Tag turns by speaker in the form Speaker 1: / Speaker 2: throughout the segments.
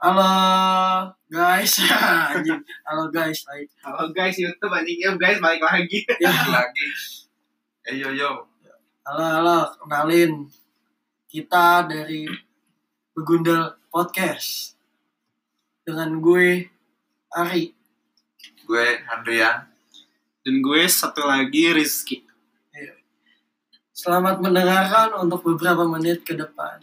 Speaker 1: Halo guys, anjing. Halo guys, baik.
Speaker 2: Halo guys, YouTube anjing ya guys balik lagi.
Speaker 1: Ya.
Speaker 3: lagi eh yo yo
Speaker 1: Halo, halo, kenalin kita dari Begundel Podcast dengan gue Ari.
Speaker 3: gue Andrian
Speaker 2: Dan gue satu lagi Rizky.
Speaker 1: Selamat mendengarkan untuk beberapa menit ke depan.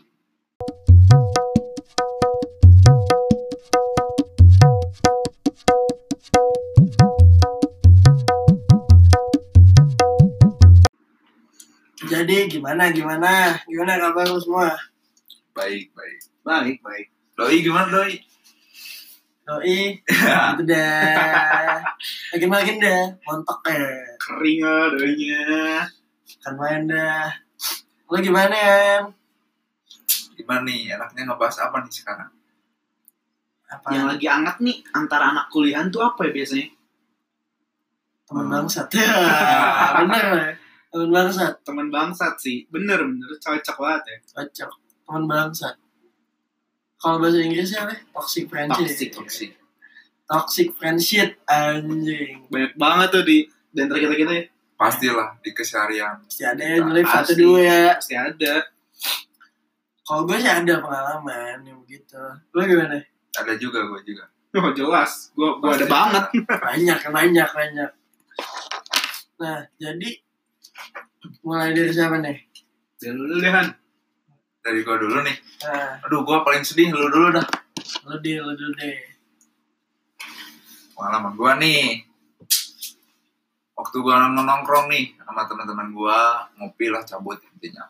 Speaker 1: Jadi gimana gimana gimana kabar lu semua?
Speaker 3: baik baik
Speaker 2: Baik, baik.
Speaker 3: doi gimana doi
Speaker 1: Doi, gitu dah. Makin-makin dah, montok ya.
Speaker 2: Kering ah doinya.
Speaker 1: Kan main dah. Lu gimana ya?
Speaker 3: gimana nih enaknya ngebahas apa nih sekarang
Speaker 1: Apa
Speaker 2: Yang lagi hangat nih antara anak kuliahan tuh apa ya biasanya?
Speaker 1: teman bangsat? Bener ya. Teman bangsat,
Speaker 2: Teman bangsat sih. Bener, bener cocok banget ya.
Speaker 1: cocok. Teman bangsat. Kalau bahasa Inggrisnya apa? Toxic friendship.
Speaker 2: Toxic.
Speaker 3: toksik
Speaker 1: Toxic friendship anjing.
Speaker 2: Banyak banget tuh di dan kita kita ya
Speaker 3: pastilah di keseharian
Speaker 1: Pasti ada yang nyelip satu
Speaker 2: Pasti.
Speaker 1: dua ya.
Speaker 2: pasti ada.
Speaker 1: Kalau gue sih ada pengalaman yang begitu. Lu gimana?
Speaker 3: ada juga gue juga
Speaker 2: Oh jelas, gua gua ada
Speaker 3: Pasti.
Speaker 2: banget.
Speaker 1: banyak banyak banyak nah jadi mulai dari siapa nih
Speaker 2: Dan lu deh Han.
Speaker 3: dari gue dulu nih
Speaker 1: nah
Speaker 3: aduh gue paling sedih lu dulu dah
Speaker 1: lu deh lu dulu deh
Speaker 3: pengalaman gue nih waktu gue nongkrong nih sama teman-teman gue ngopi lah cabut intinya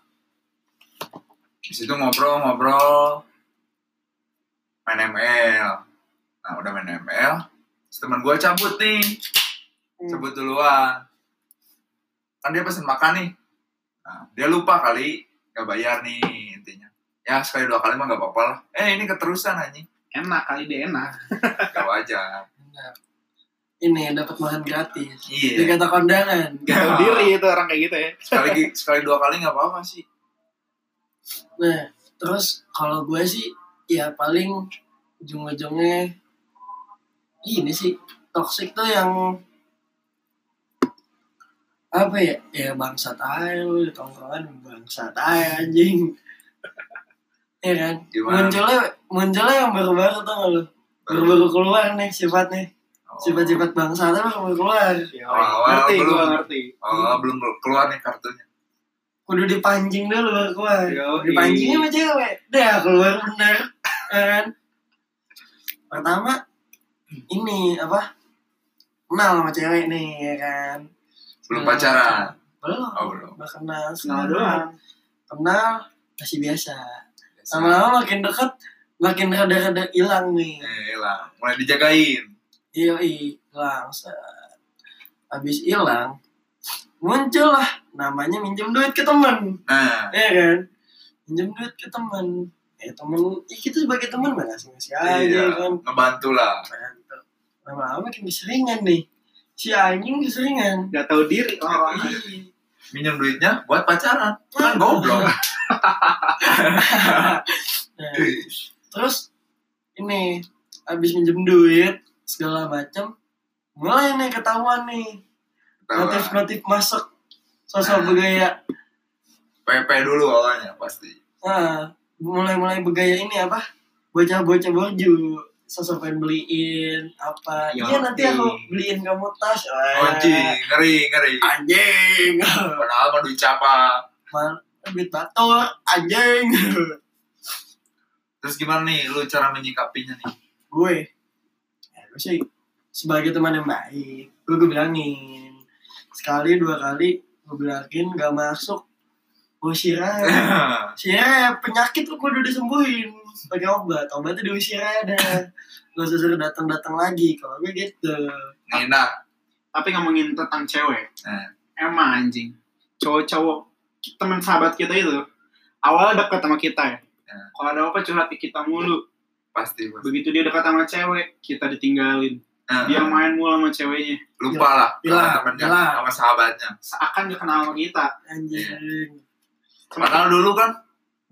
Speaker 3: di situ ngobrol-ngobrol main ML nah udah main ML terus teman gue cabut nih
Speaker 1: Hmm.
Speaker 3: cabut duluan kan dia pesen makan nih nah, dia lupa kali nggak bayar nih intinya ya sekali dua kali mah nggak apa-apa lah eh ini keterusan anjing
Speaker 2: Enak kali dia enak.
Speaker 3: gak wajar
Speaker 1: Benar. ini dapat makan gratis
Speaker 3: iya
Speaker 1: Jadi kata kondangan
Speaker 3: Ya.
Speaker 2: Tahu diri itu orang kayak gitu ya.
Speaker 3: sekali sekali dua kali nggak apa-apa sih
Speaker 1: nah terus kalau gue sih ya paling ujung-ujungnya ini sih toxic tuh yang apa ya ya bangsat aja lu di tongkrongan bangsat aja anjing ya kan
Speaker 3: gimana
Speaker 1: munculnya munculnya yang baru-baru tuh nggak lu baru-baru keluar nih sifatnya
Speaker 3: Oh.
Speaker 1: sifat-sifat bangsa tuh baru keluar
Speaker 2: Ya,
Speaker 3: Awal-awal
Speaker 2: ngerti, gua
Speaker 3: belum.
Speaker 2: ngerti.
Speaker 3: oh belum keluar nih kartunya
Speaker 1: kudu dipancing dulu baru keluar
Speaker 2: Yoi.
Speaker 1: dipancingnya sama cewek dah keluar bener Ya kan pertama ini apa kenal sama cewek nih ya kan
Speaker 3: belum
Speaker 1: Kenal sama
Speaker 3: pacaran
Speaker 1: cewek. belum
Speaker 3: oh belum
Speaker 1: Baru kenal
Speaker 2: Kenal
Speaker 1: senang.
Speaker 2: doang.
Speaker 1: kenal masih biasa lama-lama makin dekat makin rada-rada hilang nih
Speaker 3: eh lah mulai dijagain
Speaker 1: Iya hilang set. Habis hilang muncul lah namanya minjem duit ke teman,
Speaker 3: nah
Speaker 1: ya kan? Minjem duit ke teman. Eh teman, ya kita sebagai teman mana sih ngasih aja
Speaker 3: iya
Speaker 1: kan?
Speaker 3: ngebantu lah
Speaker 1: Mantap. Lama-lama makin keseringan nih. Si anjing keseringan.
Speaker 2: Gak tahu diri orang.
Speaker 1: Ih,
Speaker 3: minjem duitnya buat pacaran kan goblok
Speaker 1: Nah, terus ini habis minjem duit segala macam mulai nih ketahuan nih notif notif masuk sosok
Speaker 3: Ah.
Speaker 1: bergaya
Speaker 3: PP dulu awalnya pasti
Speaker 1: Ah, mulai-mulai bergaya ini apa? Bocah-bocah borju sosok pengen beliin apa?
Speaker 2: Ya,
Speaker 1: Iya nanti
Speaker 2: oke.
Speaker 1: aku beliin kamu tas. Wah,
Speaker 3: anjing ngeri ngeri
Speaker 1: Anjing.
Speaker 3: padahal mah duit capa
Speaker 1: Mal- duit bator anjing.
Speaker 3: terus gimana nih lu cara menyikapinya nih
Speaker 1: gue ya, gue sih sebagai teman yang baik, gue, gue bilangin sekali dua kali gue bilangin gak masuk gue sirah Sirah penyakit lu kudu disembuhin pakai obat. Obatnya diusir aja. Gak usah suruh datang-datang lagi. Kalau gue gitu.
Speaker 3: Nina
Speaker 2: tapi ngomongin tentang cewek
Speaker 3: Eh.
Speaker 2: emang anjing cowok-cowok teman sahabat kita itu awalnya dekat sama kita ya
Speaker 3: Eh.
Speaker 2: kalau ada apa curhat ke kita mulu
Speaker 3: pasti pasti
Speaker 2: begitu dia dekat sama cewek kita ditinggalin
Speaker 3: Nah,
Speaker 2: dia main mulu sama ceweknya
Speaker 3: lupa lah
Speaker 1: Hilang,
Speaker 2: Iya,
Speaker 3: sama temennya
Speaker 1: hilang.
Speaker 3: sama sahabatnya
Speaker 2: seakan gak kenal sama kita
Speaker 1: Anjing.
Speaker 3: padahal dulu kan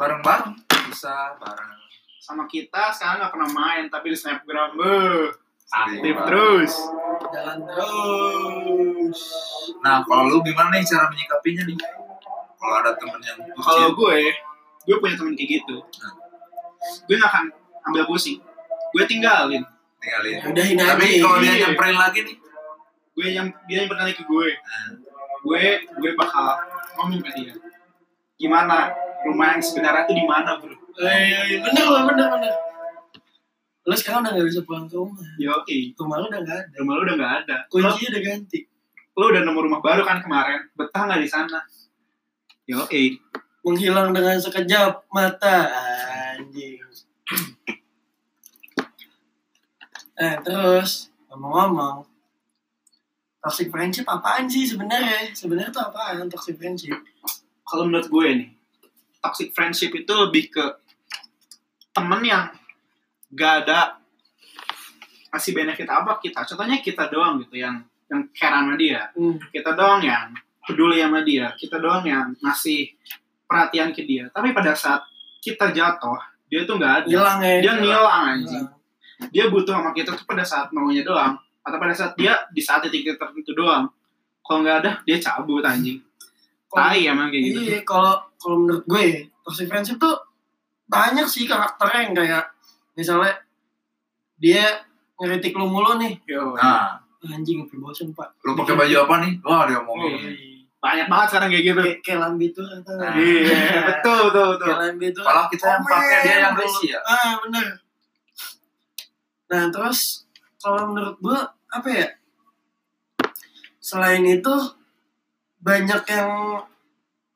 Speaker 3: bareng bareng bisa bareng
Speaker 2: sama kita sekarang nggak pernah main tapi di snapgram beuh, aktif
Speaker 3: Iya.
Speaker 2: terus
Speaker 1: Jalan terus.
Speaker 3: Nah, kalau lu gimana nih cara menyikapinya nih? Kalau ada temen yang
Speaker 2: kalau
Speaker 3: bucin,
Speaker 2: gue gue punya temen kayak gitu gue nggak akan ambil pusing gue tinggalin
Speaker 3: tinggalin.
Speaker 1: Ya Udahin aja.
Speaker 3: Tapi kalau dia
Speaker 2: Iya.
Speaker 3: nyamperin lagi nih,
Speaker 2: gue yang dia yang bertanya ke gue
Speaker 3: nah,
Speaker 2: gue gue bakal ngomong ke dia gimana rumah yang sebenarnya itu di mana bro
Speaker 1: Eh, bener loh, bener bener. Lo sekarang udah gak bisa pulang ke rumah.
Speaker 2: ya oke
Speaker 1: Rumah lo udah gak ada.
Speaker 2: rumah lu udah nggak ada lu,
Speaker 1: Kuncinya udah ganti.
Speaker 2: lu udah nemu rumah baru kan kemarin betah nggak di sana ya oke
Speaker 1: Menghilang dengan sekejap mata. Anjing. Eh, terus ngomong-ngomong. Toxic friendship apaan sih sebenarnya? Sebenarnya tuh apaan toxic friendship?
Speaker 2: kalau menurut gue nih toxic friendship itu lebih ke temen yang gak ada kasih benefit apa kita contohnya kita doang gitu yang yang care sama dia
Speaker 1: Hmm.
Speaker 2: kita doang yang peduli sama dia kita doang yang ngasih perhatian ke dia tapi pada saat kita jatuh dia tuh nggak ada
Speaker 1: Hilang ya.
Speaker 2: dia ngilang anjing
Speaker 1: Hilang.
Speaker 2: dia butuh sama kita tuh pada saat maunya doang atau pada saat dia di saat titik tertentu doang kalau nggak ada dia cabut anjing tai emang kayak gitu
Speaker 1: Iya, kalau kalau menurut gue ya, toxic friendship tuh banyak sih karakternya yang kayak misalnya dia ngeritik lu mulu nih,
Speaker 2: Yo.
Speaker 3: nah
Speaker 1: anjing lebih bosen pak.
Speaker 3: lu pakai baju apa nih? Wah, dia
Speaker 2: Oh,
Speaker 3: ngomongin.
Speaker 2: iya. banyak banget sekarang kayak gitu
Speaker 1: Kayak kayak lambi tuh atau
Speaker 3: Nah.
Speaker 2: iya betul betul betul
Speaker 1: kayak lambi tuh. "Oh,
Speaker 3: Padahal kita yang pakai dia yang dulu ya.
Speaker 1: Ah bener. Nah terus kalau menurut gue apa ya? Selain itu banyak yang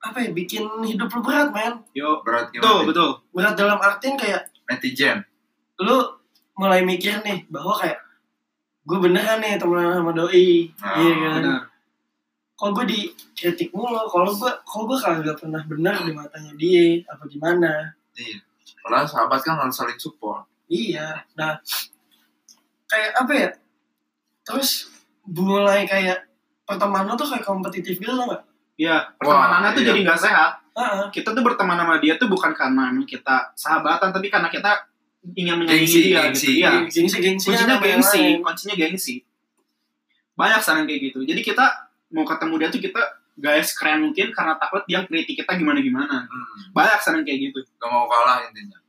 Speaker 1: apa ya bikin hidup lu berat men
Speaker 2: yo
Speaker 3: Berat
Speaker 2: betul
Speaker 3: gimana?
Speaker 2: betul
Speaker 1: berat dalam artian kayak
Speaker 3: Netizen.
Speaker 1: lu mulai mikir nih bahwa kayak gue beneran nih temenan sama doi
Speaker 2: Ah,
Speaker 3: Nah,
Speaker 1: iya kan
Speaker 2: benar
Speaker 1: kalau gue dikritik mulu kalau gue kalau gue kagak pernah bener di matanya dia apa gimana
Speaker 3: Iya. Padahal sahabat kan harus saling support.
Speaker 1: iya nah kayak apa ya terus mulai kayak pertemanan tuh kayak kompetitif gitu tau nggak
Speaker 2: iya pertemanannya tuh
Speaker 3: iya.
Speaker 2: jadi nggak sehat
Speaker 1: Heeh.
Speaker 2: kita tuh berteman sama dia tuh bukan karena emang kita sahabatan tapi karena kita ingin menyaingi
Speaker 3: Gengsi,
Speaker 2: dia
Speaker 3: gengsi. ya,
Speaker 2: gitu iya
Speaker 1: gengsi gengsi
Speaker 2: kuncinya gengsi kuncinya gengsi banyak sekarang kayak gitu jadi kita mau ketemu dia tuh kita gaya keren mungkin karena takut dia kritik kita gimana gimana
Speaker 3: Hmm.
Speaker 2: banyak sekarang kayak gitu
Speaker 3: Gak mau kalah intinya.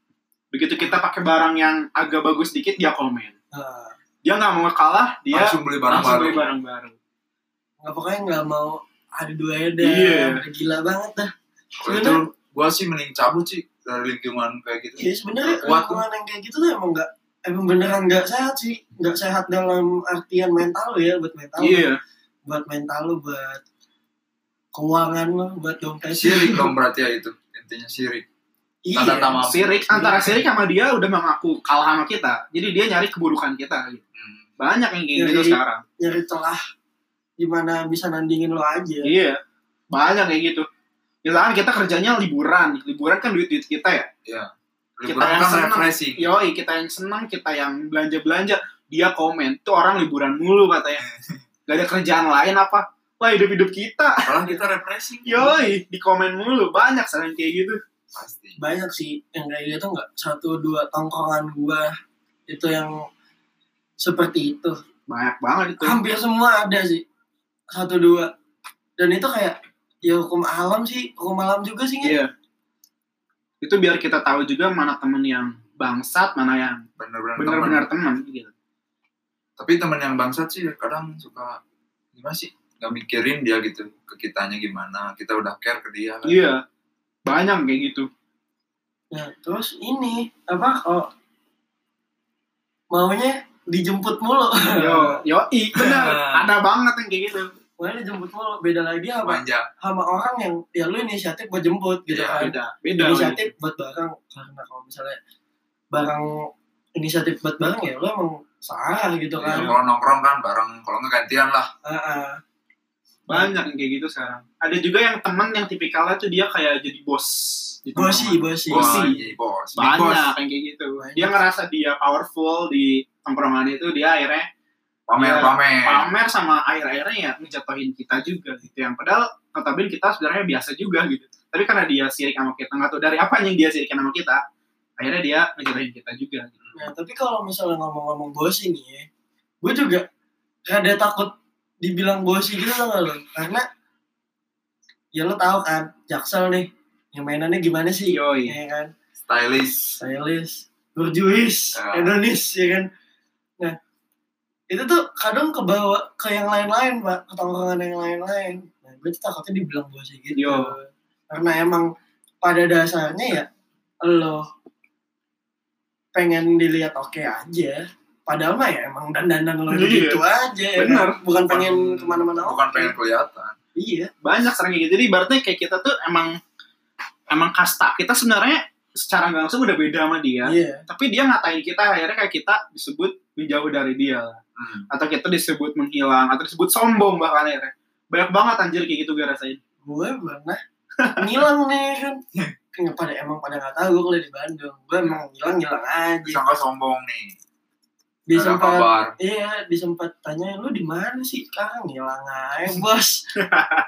Speaker 2: begitu kita pakai barang yang agak bagus dikit dia komen
Speaker 1: nah,
Speaker 2: dia nggak mau kalah dia
Speaker 3: langsung beli barang
Speaker 2: Iya. langsung
Speaker 3: baru.
Speaker 2: beli barang baru
Speaker 1: nggak pokoknya nggak mau ada dua ada
Speaker 2: Iya.
Speaker 1: gila banget dah
Speaker 3: Kalau itu gua sih mending cabut sih dari lingkungan kayak gitu.
Speaker 1: Iya sebenarnya
Speaker 3: Kuat.
Speaker 1: lingkungan yang kayak gitu tuh emang nggak emang beneran nggak sehat sih, nggak sehat dalam artian mental lu ya buat mental, lu.
Speaker 2: iya
Speaker 1: buat mental lu, buat keuangan lu, buat dompet.
Speaker 3: Sirik dong berarti ya itu intinya sirik.
Speaker 1: Iya.
Speaker 3: Tanda tama.
Speaker 2: sirik antara sirik sama dia udah mengaku kalah sama kita jadi dia nyari keburukan kita gitu.
Speaker 3: Hmm.
Speaker 2: banyak yang kayak gitu
Speaker 1: Jadi-
Speaker 2: sekarang
Speaker 1: Nyari celah gimana bisa nandingin lo aja.
Speaker 2: iya banyak kayak gitu misalkan kita kerjanya liburan liburan kan duit duit kita ya Kita
Speaker 3: Liburan
Speaker 2: yang
Speaker 3: kan
Speaker 2: senang. Iya.
Speaker 3: refreshing.
Speaker 2: yoi kita yang senang kita yang belanja belanja dia komen tuh orang liburan mulu katanya gak ada kerjaan lain apa lah hidup hidup kita
Speaker 3: Padahal kita refreshing.
Speaker 2: yoi di komen mulu banyak saling kayak gitu
Speaker 3: Pasti.
Speaker 1: Banyak sih yang kayak gitu nggak satu dua tongkrongan gua itu yang seperti itu.
Speaker 2: banyak banget itu
Speaker 1: hampir semua ada sih satu dua dan itu kayak ya hukum alam sih hukum alam juga sih nggak?
Speaker 2: Iya. Itu biar kita tahu juga mana temen yang bangsat, mana yang
Speaker 3: Bener-bener teman.
Speaker 2: benar-benar teman gitu.
Speaker 3: tapi teman yang bangsat sih kadang suka gimana sih nggak mikirin dia gitu ke kitanya gimana kita udah care ke dia kan
Speaker 2: Iya. Banyak kayak gitu.
Speaker 1: nah terus ini apa oh maunya dijemput mulu
Speaker 2: Yo, yo, benar. Ada banget yang kayak gitu.
Speaker 1: maunya dijemput mulu beda lagi apa
Speaker 3: manja
Speaker 1: sama orang yang ya lu inisiatif buat jemput gitu
Speaker 3: Iya,
Speaker 1: kan
Speaker 2: Beda, beda.
Speaker 1: inisiatif buat barang karena kalau misalnya barang inisiatif buat barang ya lu emang salah
Speaker 2: Iya
Speaker 1: gitu
Speaker 3: Ya,
Speaker 1: kan
Speaker 3: kalau nongkrong kan bareng kalau nggak gantian lah
Speaker 1: Ah, ah.
Speaker 2: Banyak yang kayak gitu sekarang. Ada juga yang temen yang tipikalnya tuh dia kayak jadi bos. di
Speaker 1: bosi
Speaker 2: tongkrongan.
Speaker 1: bosi
Speaker 3: Wah,
Speaker 2: Bosi.
Speaker 3: iya, bos Big bos
Speaker 2: Banyak yang kayak gitu. Dia ngerasa dia powerful di tongkrongan itu dia akhirnya Iya.
Speaker 3: pamer pamer
Speaker 2: pamer sama akhir-akhirnya ya ngejatuhin kita juga gitu yang padahal notabene kita sebenarnya biasa juga gitu tapi karena dia sirik sama kita nggak tahu dari apa yang dia sirik sama kita akhirnya dia ngejatuhin kita juga gitu.
Speaker 1: Nah, tapi kalau misalnya ngomong-ngomong bosi nih ya, gue juga rada takut dibilang bosi gitu tau gak lo? Karena ya lo tau kan, Jaksel nih, yang mainannya gimana sih?
Speaker 2: Yoi.
Speaker 1: Ya kan?
Speaker 3: stylish
Speaker 1: stylish, berjuis,
Speaker 3: Ah.
Speaker 1: Indonesia ya kan. Nah, itu tuh kadang kebawa ke yang lain-lain, Pak, ke tongkrongan yang lain-lain. Nah, gue tuh takutnya dibilang bosnya gitu.
Speaker 2: Yo.
Speaker 1: Karena emang pada dasarnya ya lo pengen dilihat oke aja. Padahal mah ya emang dandanan lo
Speaker 2: Iya.
Speaker 1: gitu aja. ya
Speaker 2: Benar.
Speaker 1: kan? Bukan pengen kemana-mana
Speaker 3: bukan
Speaker 1: oke.
Speaker 3: pengen kelihatan
Speaker 1: Iya.
Speaker 2: banyak sering kayak gitu jadi berarti kayak kita tuh emang emang kasta kita sebenarnya secara nggak langsung udah beda sama dia
Speaker 1: Iya.
Speaker 2: tapi dia ngatain kita akhirnya kayak kita disebut menjauh dari dia
Speaker 3: Hmm.
Speaker 2: atau kita disebut menghilang atau disebut sombong bahkan akhirnya banyak banget anjir kayak gitu gue rasain
Speaker 1: gue pernah ngilang nih kan Kayak pada emang pada nggak tahu gue kalau di Bandung gue emang ngilang ngilang aja
Speaker 3: disangka sombong nih ada
Speaker 1: disempat
Speaker 3: kabar
Speaker 1: iya disempat tanya lu di mana sih kang ngilang aja bos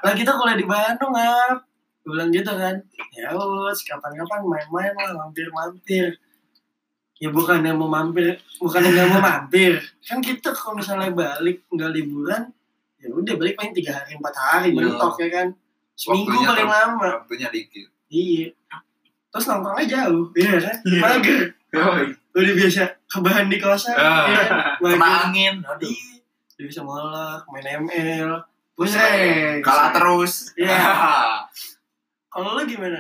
Speaker 1: lah kita kalau di Bandung ngap gue bilang gitu kan ya us kapan-kapan main-main lah mampir-mampir ya bukan yang mau mampir bukan yang mau mampir kan kita kalau misalnya balik nggak liburan ya udah balik paling tiga hari empat hari
Speaker 2: Iya.
Speaker 1: mentok ya kan seminggu
Speaker 3: Waktunya
Speaker 1: paling
Speaker 3: ter-
Speaker 1: lama
Speaker 3: waktunya dikit
Speaker 1: Iya. Terus nongkrongnya jauh, iya kan?
Speaker 2: Iya.
Speaker 1: Mager.
Speaker 2: Yoi.
Speaker 1: Udah biasa kebahan di kosan,
Speaker 3: Ah.
Speaker 1: iya kan?
Speaker 3: kena
Speaker 1: Mager.
Speaker 3: angin aduh
Speaker 1: Iya. Udah bisa molek, main ML,
Speaker 2: Iya,
Speaker 1: pusing.
Speaker 3: kalah terus
Speaker 1: Iya. Kalau lo gimana?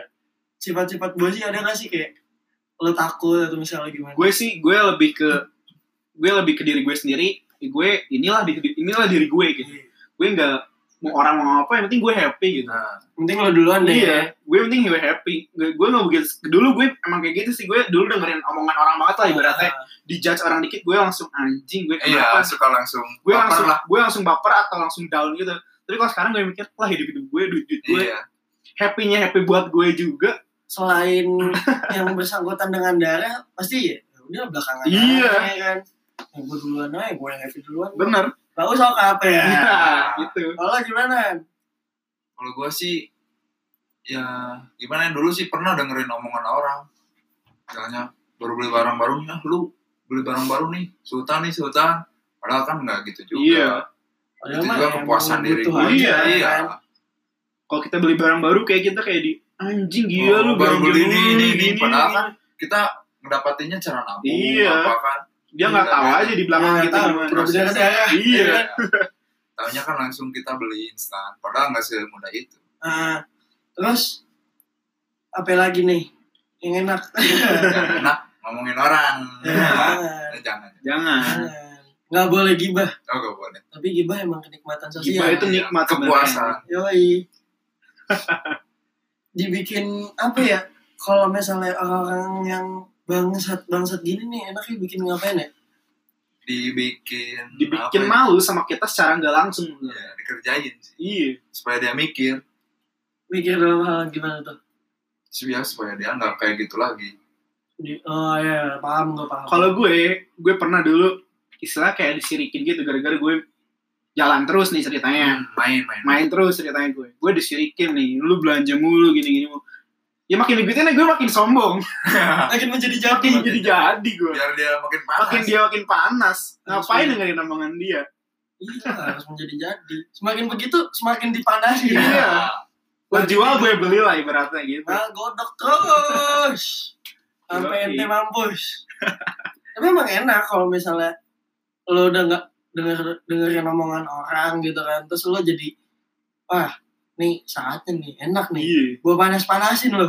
Speaker 1: Sifat-sifat bosi ada gak sih kayak lo takut atau misalnya gimana?
Speaker 2: gue sih gue lebih ke gue lebih ke diri gue sendiri gue inilah di- inilah diri gue gitu
Speaker 1: Iya.
Speaker 2: gue nggak mau orang mau apa yang penting gue happy gitu
Speaker 3: Nah,
Speaker 1: Penting lo duluan deh.
Speaker 2: Iya, gue penting gue happy. Gue gue nggak begitu. Dulu gue emang kayak gitu sih. Gue dulu dengerin omongan orang banget lah ibaratnya.
Speaker 1: Ah,
Speaker 2: Dijudge orang dikit, gue langsung anjing. Gue
Speaker 3: iya
Speaker 2: kenapa?
Speaker 3: suka langsung
Speaker 2: gue
Speaker 3: baper
Speaker 2: langsung
Speaker 3: lah
Speaker 2: gue langsung baper atau langsung down gitu. Tapi kalau sekarang gue mikir, lah hidup hidup gue, duit duit gue,
Speaker 3: iya
Speaker 2: happy-nya happy buat gue juga.
Speaker 1: Selain yang bersangkutan dengan darah, pasti ya udah belakangan
Speaker 2: Iya.
Speaker 1: aja, ya kan? Ya, gue duluan aja, gue yang happy duluan.
Speaker 2: Bener.
Speaker 1: Gak usah apa ya.
Speaker 2: Iya, gitu.
Speaker 1: Kalau lo gimana?
Speaker 3: kalau gue sih ya gimana ya, dulu sih pernah dengerin omongan orang misalnya baru beli barang baru nih ah, lu beli barang baru nih sultan nih sultan padahal kan nggak gitu juga
Speaker 2: Iya.
Speaker 1: Padahal
Speaker 3: itu
Speaker 1: mah
Speaker 3: juga
Speaker 1: emang
Speaker 3: kepuasan diri
Speaker 1: butuh
Speaker 3: gue
Speaker 2: aja,
Speaker 3: iya, iya.
Speaker 1: kan?
Speaker 2: Kalau kita beli barang baru kayak kita kayak di anjing gila
Speaker 3: Oh,
Speaker 2: lu
Speaker 3: baru
Speaker 2: barang
Speaker 3: beli
Speaker 2: baru,
Speaker 3: ini, ini, ini,
Speaker 2: gini,
Speaker 3: padahal
Speaker 2: ini.
Speaker 3: kan kita ngedapatinya cara nabung
Speaker 2: Iya.
Speaker 3: apa kan
Speaker 2: dia nggak tahu
Speaker 3: Iya,
Speaker 2: aja di belakang
Speaker 1: Iya,
Speaker 2: kita
Speaker 1: tahu.
Speaker 2: gimana.
Speaker 1: Terus dia kan, ya, ya.
Speaker 2: Iya.
Speaker 3: tahunya kan langsung kita beli instan padahal nggak semudah itu
Speaker 1: Nah, terus apa lagi nih yang enak?
Speaker 3: Jangan enak ngomongin orang
Speaker 2: ah? Iya.
Speaker 1: Jangan.
Speaker 3: Eh, jangan
Speaker 2: Jangan.
Speaker 1: Jangan. nggak boleh gibah,
Speaker 3: oh gak boleh
Speaker 1: tapi gibah emang kenikmatan
Speaker 2: Gibah
Speaker 1: sosial.
Speaker 2: itu nikmat
Speaker 3: iya, kepuasan
Speaker 1: Yoi. Dibikin apa ya? Kalau misalnya orang-orang yang bangsat bangsat gini nih enaknya bikin ngapain ya?
Speaker 3: dibikin apa
Speaker 2: dibikin
Speaker 3: ya?
Speaker 2: malu sama kita secara nggak langsung.
Speaker 3: ya, dikerjain sih
Speaker 2: Iya.
Speaker 3: supaya dia mikir
Speaker 1: Mikir dalam hal gimana tuh?
Speaker 3: supaya supaya dia nggak kayak gitu lagi
Speaker 1: Di- oh ya, paham gue paham.
Speaker 2: Kalau gue, gue pernah dulu istilah kayak disirikin gitu gara-gara gue jalan terus nih ceritanya,
Speaker 3: Hmm, main main
Speaker 2: main terus ceritanya gue. Gue disirikin nih, lu belanja mulu gini-gini mulu. Ya makin dibikinnya gue makin sombong,
Speaker 1: makin menjadi jadi.
Speaker 2: makin jadi jadi gue.
Speaker 3: biar dia makin panas
Speaker 2: Makin dia makin panas.
Speaker 1: Harus
Speaker 2: Ngapain
Speaker 1: ya.
Speaker 2: dengerin omongan dia?
Speaker 1: Iya, harus menjadi jadi. Semakin begitu, semakin dipanasi.
Speaker 2: Iya.
Speaker 3: Nah,
Speaker 2: Lo jual gue beli lah ibaratnya gitu.
Speaker 1: Nah, godok terus. Sampai
Speaker 2: Yoi.
Speaker 1: ente mampus. Tapi emang enak kalau misalnya lo udah nggak denger dengerin omongan orang gitu kan, terus lo jadi wah nih saatnya nih enak nih.
Speaker 2: Iya.
Speaker 1: Gue panas-panasin lo.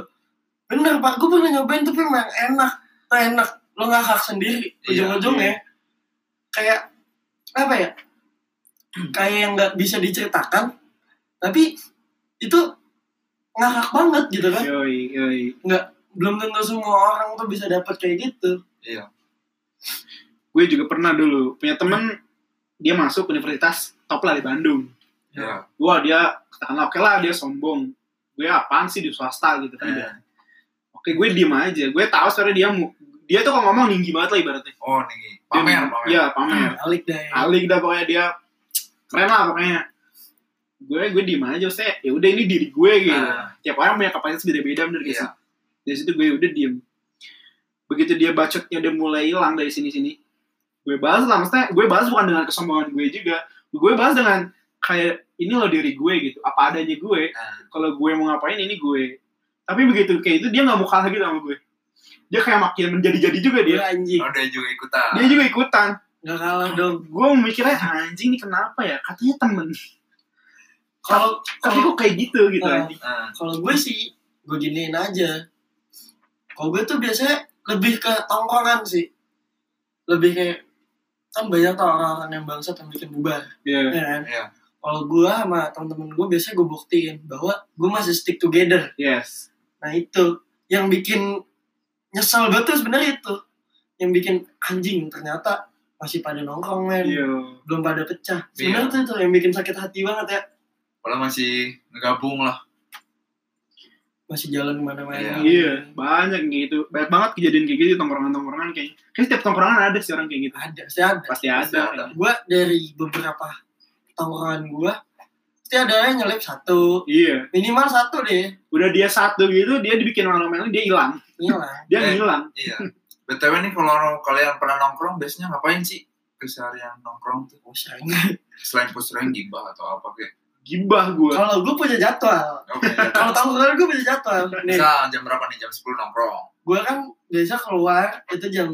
Speaker 1: Bener pak, gue pernah nyobain tapi emang enak. Tuh enak, lo ngakak sendiri
Speaker 3: Iya,
Speaker 1: ujung-ujungnya. Kayak apa ya? Kayak yang nggak bisa diceritakan, tapi itu ngakak banget gitu
Speaker 3: Iya.
Speaker 1: kan
Speaker 2: Iya. Yoi, yoi.
Speaker 1: belum tentu semua orang tuh bisa dapat kayak gitu.
Speaker 3: iya
Speaker 2: Gue juga pernah dulu punya temen dia masuk universitas top lah di Bandung.
Speaker 3: iya
Speaker 2: Wah dia katakanlah oke lah dia sombong gue apaan sih di swasta gitu kan
Speaker 3: Eh,
Speaker 2: oke gue diem aja gue tahu sebenarnya dia mu- dia tuh kalau ngomong ninggi banget lah ibaratnya dia,
Speaker 3: oh nih pamer pamer
Speaker 2: ya pamer
Speaker 3: Hmm.
Speaker 1: Alik deh.
Speaker 2: alik dah pokoknya dia keren lah pokoknya gue gue diem aja saya ya udah ini diri gue gitu
Speaker 3: Ah.
Speaker 2: tiap orang punya kapasitas beda-beda bener guys
Speaker 3: Iya.
Speaker 2: dari situ gue udah diem begitu dia bacotnya udah mulai hilang dari sini-sini gue bahas lah maksudnya gue bahas bukan dengan kesombongan gue juga gue bahas dengan kayak ini loh diri gue gitu apa adanya gue kalau gue mau ngapain ini gue tapi begitu kayak itu dia nggak mau kalah gitu sama gue dia kayak makin menjadi-jadi juga dia
Speaker 1: Gila anjing.
Speaker 3: Oh, dia juga ikutan.
Speaker 2: dia juga ikutan
Speaker 1: Gak kalah dong.
Speaker 2: gue mikirnya anjing ini kenapa ya katanya temen
Speaker 1: Kalau
Speaker 2: tapi
Speaker 1: kalau
Speaker 2: kok kayak gitu gitu
Speaker 1: Nah.
Speaker 2: anjing
Speaker 3: Ah.
Speaker 1: kalau gue sih gue giniin aja. Kalau gue tuh biasanya lebih ke tongkrongan sih. Lebih kayak kan banyak tuh orang-orang yang bangsat yang bikin bubar.
Speaker 2: iya
Speaker 1: Ya kan?
Speaker 3: Iya.
Speaker 1: Kalau gue sama temen-temen gue biasanya gue buktiin bahwa gue masih stick together.
Speaker 2: yes
Speaker 1: Nah itu yang bikin nyesel banget tuh sebenarnya itu. Yang bikin anjing ternyata masih pada nongkrong men.
Speaker 2: iya
Speaker 1: Belum pada pecah.
Speaker 3: Iya.
Speaker 1: Sebenarnya tuh itu yang bikin sakit hati banget ya.
Speaker 3: Kalau masih ngegabung lah.
Speaker 1: Masih jalan kemana-mana.
Speaker 2: iya banyak gitu banyak banget kejadian kayak gitu di tongkrongan-tongkrongan kayaknya kayak setiap tongkrongan ada sih orang kayak gitu
Speaker 1: Ada, pasti ada.
Speaker 2: pasti
Speaker 3: Pasti ada.
Speaker 2: ada
Speaker 1: gue dari beberapa tongkrongan gue pasti ada yang nyelip satu
Speaker 2: iya
Speaker 1: minimal satu deh
Speaker 2: udah dia satu gitu dia dibikin malu-malu dia hilang
Speaker 1: hilang
Speaker 2: dia
Speaker 3: Eh.
Speaker 2: hilang
Speaker 3: Iya. BTW nih kalau kalian pernah nongkrong biasanya ngapain sih? Keseharian nongkrong tuh
Speaker 1: pusing
Speaker 3: selain pusreng gibah atau apa kayak.
Speaker 2: gibah gue
Speaker 1: kalau gue punya jadwal
Speaker 3: Oke. iya.
Speaker 1: kalau tongkrongan gue punya jadwal nih
Speaker 3: Misal jam berapa nih? Jam 10 nongkrong.
Speaker 1: gue kan biasa keluar itu jam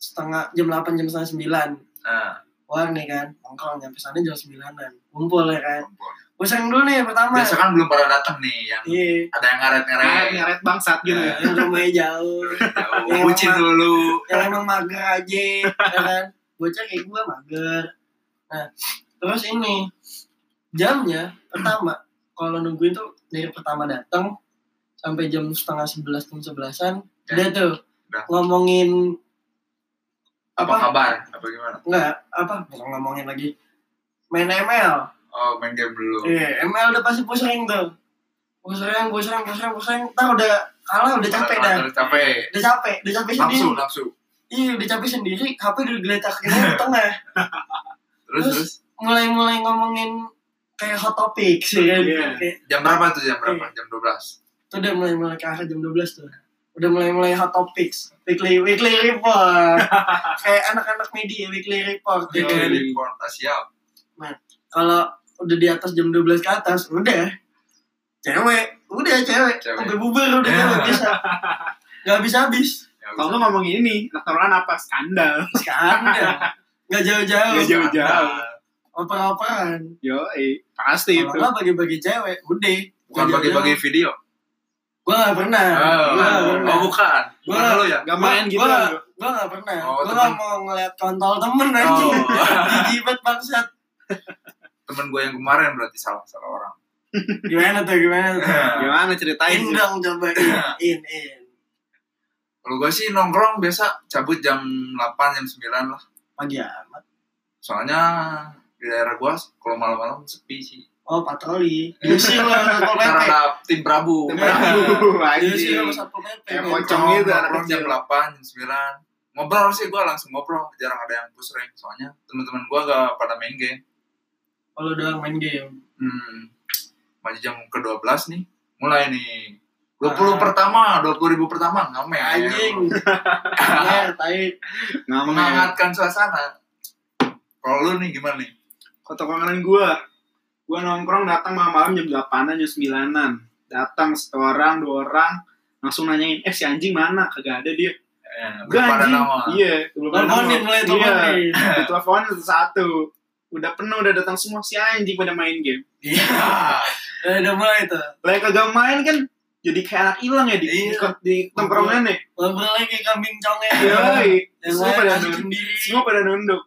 Speaker 1: setengah jam 8 jam setengah sembilan
Speaker 3: Nah,
Speaker 1: keluar nih kan nongkrong nyampe sana jam sembilanan kumpul ya kan
Speaker 3: kumpul.
Speaker 1: pusing dulu nih pertama
Speaker 3: Biasa kan belum pada datang nih yang
Speaker 1: iya
Speaker 3: ada yang ngaret-ngaret.
Speaker 2: Kayak nyeret bangsat gitu ya
Speaker 1: yang rumahnya jauh
Speaker 3: Jauh, Bucin dulu.
Speaker 1: yang emang mager aja ya kan bocah kayak gue mager nah terus ini jamnya pertama kalau nungguin tuh dari pertama datang sampai jam setengah sebelas jam sebelasan
Speaker 3: Ya.
Speaker 1: udah tuh
Speaker 3: Udah.
Speaker 1: ngomongin
Speaker 3: Apa
Speaker 1: apa
Speaker 3: kabar? Apa gimana?
Speaker 1: nggak apa bukan ngomongin lagi main ML
Speaker 3: Oh, main game dulu.
Speaker 1: iya ML udah pasti pusing tuh pusing pusing pusing pusing ntar udah kalah udah capek dah Iya.
Speaker 3: Terus Capek.
Speaker 1: udah capek udah capek
Speaker 3: Nafsu,
Speaker 1: sendiri
Speaker 3: nafsu.
Speaker 1: iya udah capek sendiri HP udah geletakin di tengah
Speaker 3: Terus,
Speaker 1: Terus?
Speaker 3: terus.
Speaker 1: mulai-mulai ngomongin kayak hot topic sih kan.
Speaker 2: Iya.
Speaker 1: Kayak,
Speaker 3: Jam berapa tuh jam berapa? Jam 12.
Speaker 1: itu udah mulai-mulai ke arah jam 12 tuh. Udah mulai-mulai hot topics. Weekly, weekly report. kayak anak-anak media weekly report.
Speaker 2: Iya,
Speaker 1: ya
Speaker 3: Oke,
Speaker 1: kan.
Speaker 3: report. Ah, siap.
Speaker 1: Kalau udah di atas jam 12 ke atas, udah. Cewek. Udah cewek.
Speaker 3: Cewek.
Speaker 1: Udah bubar, udah
Speaker 2: Iya.
Speaker 3: Ya.
Speaker 1: nggak bisa. Gak habis-habis.
Speaker 3: Ya,
Speaker 2: kalau nggak ngomongin ini anak tongkrongan apa skandal
Speaker 1: Sekarang ya. Gak
Speaker 2: Nggak
Speaker 1: jauh-jauh.
Speaker 2: jauh. jauh-jauh.
Speaker 3: Nah,
Speaker 1: Oper-operan.
Speaker 2: yo eh, pasti
Speaker 1: Kalau
Speaker 2: itu
Speaker 1: nggak bagi-bagi cewek, udah.
Speaker 3: Bukan bagi-bagi video.
Speaker 1: Gue gak pernah.
Speaker 2: Iya,
Speaker 3: Oh,
Speaker 1: Gua nggak pernah.
Speaker 3: oh, bukan. Bukan
Speaker 1: Gua-
Speaker 3: lo ya?
Speaker 2: Gak main
Speaker 1: Gua-
Speaker 2: gitu
Speaker 1: gua-
Speaker 2: kan,
Speaker 1: Gua gak pernah.
Speaker 3: Oh,
Speaker 1: gua
Speaker 3: temen.
Speaker 1: gak mau ngeliat kontol temen aja.
Speaker 3: Oh,
Speaker 1: Gigi banget bangsat.
Speaker 3: temen gue yang kemarin berarti salah salah orang.
Speaker 1: Gimana tuh, gimana tuh?
Speaker 3: Iya.
Speaker 2: Gimana ceritain
Speaker 1: In dong coba, in, in, in.
Speaker 3: Kalau gue sih nongkrong biasa cabut jam 8 jam 9 lah.
Speaker 1: Pagi amat.
Speaker 3: Soalnya di daerah gue kalau malam-malam sepi sih.
Speaker 1: Oh, patroli. Diusir lo, Satpol PP.
Speaker 3: Karena ada tim Prabu.
Speaker 2: Tim
Speaker 1: Prabu. Diusir
Speaker 2: Anjing.
Speaker 1: lo, Satpol PP.
Speaker 2: Eh,
Speaker 1: men.
Speaker 2: pocong gitu, anak
Speaker 3: nongkrong jam
Speaker 2: kecil.
Speaker 3: 8 jam 9. Ngobrol sih gue langsung ngobrol, jarang ada yang push rank soalnya teman-teman gue gak pada main game.
Speaker 1: Kalau doang main game.
Speaker 3: Hmm. Maju jam ke-12 nih. Mulai nih. 20
Speaker 1: Ah.
Speaker 3: pertama, 20 ribu pertama ngamen.
Speaker 1: Anjing. Ya, tai.
Speaker 2: Ngamen.
Speaker 3: Menghangatkan suasana. Kalau lu nih gimana nih?
Speaker 2: Kota kangen gua. Gua nongkrong datang malam-malam jam 8-an jam 9-an. Datang seorang, dua orang, langsung nanyain, "Eh, si anjing mana?" Kagak ada dia.
Speaker 3: Eh,
Speaker 2: Gua
Speaker 3: pada
Speaker 2: anjing.
Speaker 3: nama.
Speaker 2: Iya, belum ada nama.
Speaker 1: Teleponin mulai teleponin.
Speaker 2: Iya, telepon satu. Udah penuh, udah datang semua si anjing pada main game.
Speaker 1: Iya. Eh, Udah mulai tuh.
Speaker 2: Lah kagak main kan jadi kayak anak hilang ya di
Speaker 3: Iya.
Speaker 2: di, di tongkrongan ya.
Speaker 1: Ngobrolnya kayak kambing conge.
Speaker 2: Yoi.
Speaker 1: Yang
Speaker 2: Semua
Speaker 1: lain
Speaker 2: pada
Speaker 1: asik
Speaker 2: nunduk.
Speaker 1: sendiri.
Speaker 2: semua pada nunduk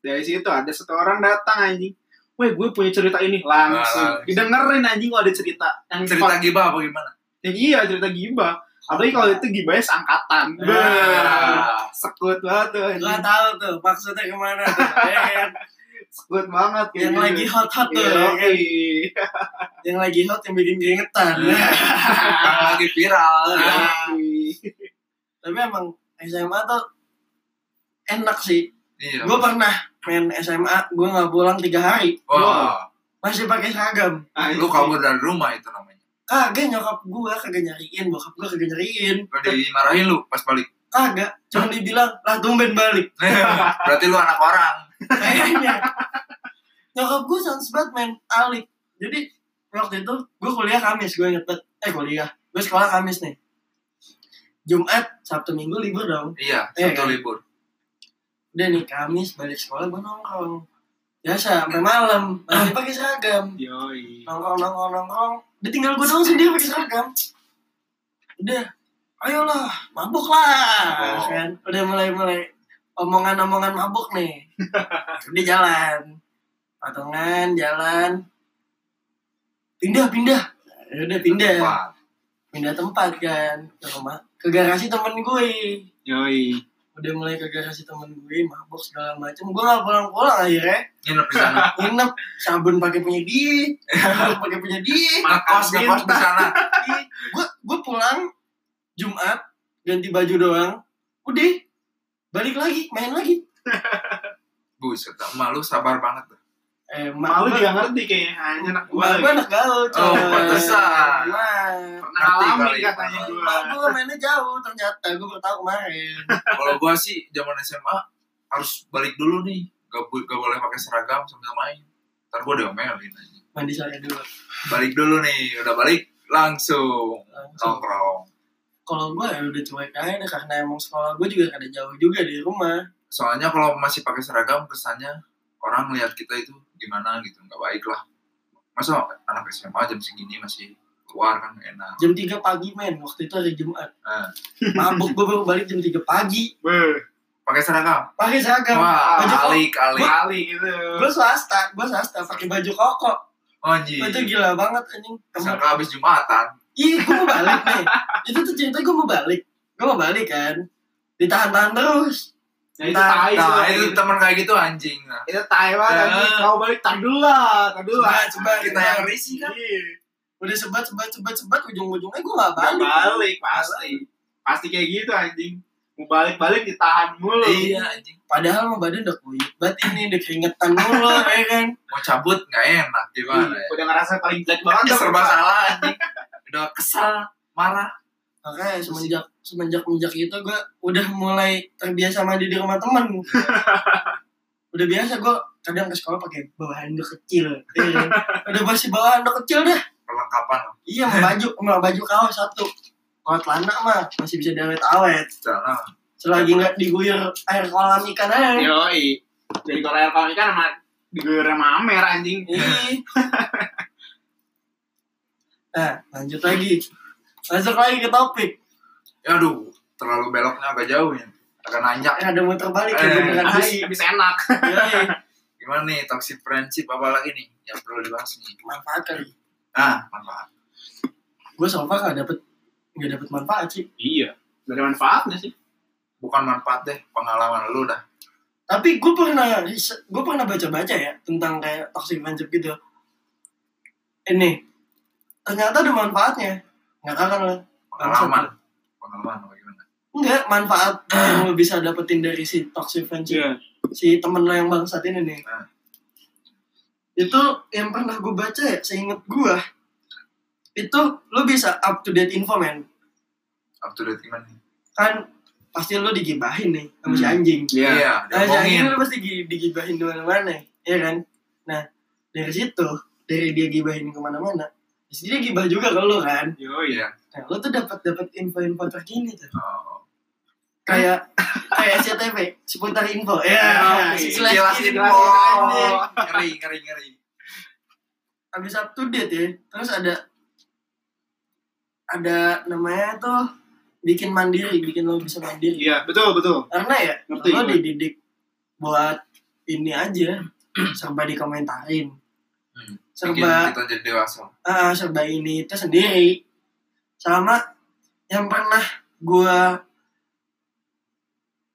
Speaker 2: dari situ ada satu orang datang anjing Weh gue punya cerita ini langsung
Speaker 3: Nah, Langsung.
Speaker 2: didengerin anjing kalau ada cerita yang
Speaker 3: Cerita gibah apa gimana?
Speaker 2: yang iya cerita gibah apalagi kalau itu gibahnya seangkatan
Speaker 1: Ah.
Speaker 2: Eh. Beuh, sekut banget tuh
Speaker 1: Gua
Speaker 2: anjing.
Speaker 1: tahu tuh maksudnya kemana tuh. ya kan?
Speaker 2: sekut banget kayak
Speaker 1: yang
Speaker 2: gitu.
Speaker 1: lagi hot hot tuh
Speaker 2: Iya,
Speaker 1: ya kan?
Speaker 2: iya.
Speaker 1: yang lagi hot yang bikin keringetan
Speaker 3: Yang lagi viral.
Speaker 2: Eh.
Speaker 3: ya.
Speaker 1: tapi emang SMA tuh enak sih
Speaker 3: Iya.
Speaker 1: gue pernah main SMA gue nggak pulang tiga hari
Speaker 3: Wah,
Speaker 1: masih pakai seragam
Speaker 2: Anjing.
Speaker 3: lu kabur dari rumah itu namanya.
Speaker 1: kagak nyokap gue kagak nyariin bokap gue kagak nyariin
Speaker 3: Lu dimarahin lu pas balik.
Speaker 1: kagak cuma dibilang lah tumben balik
Speaker 3: Berarti lu anak orang.
Speaker 1: kayaknya nyokap gue sans banget men alik jadi waktu itu gue kuliah kamis gue inget banget eh kuliah gue sekolah kamis nih Jumat, Sabtu, Minggu libur dong.
Speaker 3: Iya,
Speaker 1: Iya,
Speaker 3: satu
Speaker 1: kan?
Speaker 3: libur.
Speaker 1: Udah nih Kamis balik sekolah gue nongkrong. Biasa sampai malam, masih pakai seragam.
Speaker 2: Yoi.
Speaker 1: nongkrong nongkrong nongkrong ditinggal gue doang sendiri pakai seragam udah ayolah mabuk lah
Speaker 3: Oh.
Speaker 1: kan udah mulai mulai omongan omongan mabuk nih udah jalan patungan jalan pindah pindah udah pindah
Speaker 3: Wah,
Speaker 1: pindah tempat kan ke rumah ke garasi temen gue
Speaker 2: Yoi.
Speaker 1: udah mulai ke garasi temen gue mabuk segala macem gue gak pulang pulang akhirnya
Speaker 3: nginep di sana.
Speaker 1: nginep sabun pakai punya dia sabun pakai punya dia
Speaker 3: Ngekos, ngekos di sana.
Speaker 1: gue gue pulang Jumat ganti baju doang udah balik lagi main lagi
Speaker 3: Buset, emak lu sabar banget. tuh.
Speaker 1: eh
Speaker 2: Malu
Speaker 1: gua-
Speaker 2: juga ngerti kayaknya. Hanya anak gue.
Speaker 1: mak gue anak gaul coy
Speaker 3: Oh, pantesan.
Speaker 1: Nah,
Speaker 2: Pernah
Speaker 3: Ngerti
Speaker 2: alami
Speaker 3: kali.
Speaker 2: katanya gue.
Speaker 1: mak gue mainnya jauh ternyata gue baru tahu kemarin
Speaker 3: Kalau gua sih zaman SMA harus balik dulu nih. Gak, bu- gak boleh pakai seragam sambil main. Ntar gua diomelin aja.
Speaker 1: mandi sore dulu
Speaker 3: Balik dulu nih, udah balik langsung
Speaker 1: langsung
Speaker 3: nongkrong.
Speaker 1: kalau gue ya udah cuek aja deh, karena emang sekolah gue juga kada jauh juga dari rumah
Speaker 3: Soalnya kalau masih pakai seragam kesannya orang lihat kita itu gimana gitu, nggak baik lah. Masa anak SMA jam segini masih keluar kan nggak enak.
Speaker 1: jam 3 pagi men waktu itu hari Jumat
Speaker 3: Eh.
Speaker 1: mabuk gue baru balik jam 3 pagi
Speaker 2: Beuh.
Speaker 3: Pakai seragam.
Speaker 1: pakai
Speaker 2: Ya,
Speaker 1: seragam
Speaker 3: Wah,
Speaker 1: Baju kok-
Speaker 3: alik alik.
Speaker 2: Kali gitu.
Speaker 1: gue swasta gue swasta pakai baju koko
Speaker 3: Anjir.
Speaker 1: itu
Speaker 2: gitu.
Speaker 1: gila banget anjing Sama-
Speaker 3: Oh, Sangka habis Jumatan.
Speaker 1: Iya, gue mau balik nih. Itu tuh cerita gue mau balik. Gue mau balik kan. Ditahan-tahan terus.
Speaker 2: Nah itu tai sih.
Speaker 3: Nah,
Speaker 2: lah,
Speaker 3: itu
Speaker 2: gitu.
Speaker 3: teman kayak gitu anjing. Nah,
Speaker 2: Itu tai banget.
Speaker 3: Ya.
Speaker 1: Nah.
Speaker 2: anjing. Kau balik tak dulu lah. Tak dulu lah.
Speaker 1: Sebat, sebat,
Speaker 3: kita
Speaker 1: sebat.
Speaker 3: yang risih kan.
Speaker 2: Iya.
Speaker 1: Udah sebat, sebat, sebat, sebat. Ujung-ujungnya gue gak balik.
Speaker 2: Balik pasti. Pasti kayak gitu anjing. Mau balik-balik ditahan mulu.
Speaker 3: Iya anjing.
Speaker 1: Padahal mah badan udah kuyuk. Bat ini udah keringetan mulu, ya kan.
Speaker 3: Mau cabut nggak enak gimana ya?
Speaker 2: Udah ngerasa paling jelek banget.
Speaker 3: Udah
Speaker 2: dah,
Speaker 3: serba
Speaker 2: Pak.
Speaker 3: salah anjing. Udah kesal, marah.
Speaker 1: Makanya semenjak semenjak menjak itu gue udah mulai terbiasa mandi di rumah temen. udah biasa gue kadang ke sekolah pakai bawa handuk kecil. ya kan. udah masih bawa handuk kecil dah.
Speaker 3: Perlengkapan
Speaker 1: Iya, sama baju, sama baju kaos satu. Kalau celana mah masih bisa diawet-awet.
Speaker 3: celana.
Speaker 1: selagi nggak diguyur air kolam ikan aja
Speaker 2: Yoi. Jadi kalau air kami kan sama diguyur sama Amer anjing.
Speaker 3: Iya,
Speaker 1: Ih. nah lanjut lagi masuk lagi ke topik
Speaker 3: Ya aduh, terlalu beloknya agak jauh ya. Agak nanjak.
Speaker 1: eh, ada muter balik ya
Speaker 3: Eh,
Speaker 1: beneran
Speaker 2: Habis,
Speaker 1: hai
Speaker 2: habis enak.
Speaker 1: Yoi.
Speaker 3: Gimana nih toxic friendship apa lagi nih yang perlu dibahas nih?
Speaker 1: manfaatkan
Speaker 3: Nah, manfaat.
Speaker 1: gue so far nggak dapet nggak dapet manfaat sih
Speaker 2: Iya. Gak ada manfaatnya sih.
Speaker 3: Bukan manfaat deh, pengalaman lu dah.
Speaker 1: tapi gue pernah gue pernah baca baca ya tentang kayak toxic friendship gitu ini ternyata ada manfaatnya nggak kangen lah
Speaker 3: Pengalaman. Pengalaman apa gimana?
Speaker 1: Enggak, manfaat yang lo bisa dapetin dari si toxic friendship
Speaker 2: Iya.
Speaker 1: si temen lo yang bangsat ini nih.
Speaker 3: Ah.
Speaker 1: Itu yang pernah gue baca ya, seinget gue. Itu lo bisa up to date info men.
Speaker 3: Up to date gimana nih?
Speaker 1: Kan pasti lo digibahin nih sama si
Speaker 3: Hmm.
Speaker 1: anjing.
Speaker 2: Iya.
Speaker 3: Iya,
Speaker 1: Nah, si anjing
Speaker 3: diomongin.
Speaker 1: lo pasti gi- digibahin di mana-mana, ya kan? Nah, dari situ, dari dia gibahin kemana-mana, pasti dia gibah juga ke lo kan.
Speaker 2: Yoi.
Speaker 3: Iya.
Speaker 1: Nah, lo tuh dapat dapat info-info terkini tuh.
Speaker 3: Oh,
Speaker 1: Kayak kayak SCTV, seputar info. Ya,
Speaker 2: Yoi.
Speaker 1: sekilas
Speaker 3: Kilas
Speaker 1: info.
Speaker 3: info.
Speaker 1: anjing.
Speaker 3: Ngeri, ngeri, ngeri.
Speaker 1: habis up to date ya terus ada ada namanya tuh bikin mandiri bikin lo bisa mandiri
Speaker 2: Iya, betul, betul.
Speaker 1: karena ya
Speaker 2: Ngerti
Speaker 1: lo
Speaker 2: gue.
Speaker 1: dididik buat ini aja serba dikomentarin
Speaker 3: Hmm. Bikin
Speaker 1: serba
Speaker 3: kita jadi dewasa.
Speaker 1: ah, serba ini itu sendiri sama yang pernah gua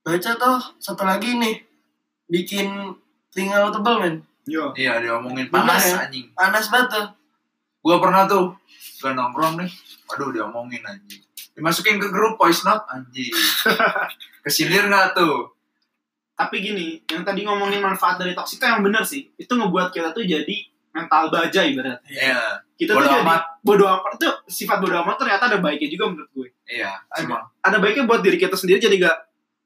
Speaker 1: baca tuh satu lagi nih bikin telinga lo tebel men
Speaker 2: Yo.
Speaker 3: Iya, diomongin
Speaker 1: Bener
Speaker 3: panas
Speaker 1: ya?
Speaker 3: anjing.
Speaker 1: panas banget tuh
Speaker 3: Gua pernah tuh gak nongkrong nih. Waduh, diomongin anjing. Dimasukin ke grup voice note anjing. Kesindir nggak tuh?
Speaker 2: Tapi gini, yang tadi ngomongin manfaat dari toxic itu yang benar sih. Itu ngebuat kita tuh jadi mental baja ibarat.
Speaker 3: Iya.
Speaker 2: kita
Speaker 3: Bodo
Speaker 2: tuh
Speaker 3: amat.
Speaker 2: jadi bodo amat itu sifat bodo amat ternyata ada baiknya juga menurut gue
Speaker 3: Iya,
Speaker 2: Ada.
Speaker 3: cuma
Speaker 2: ada baiknya buat diri kita sendiri jadi gak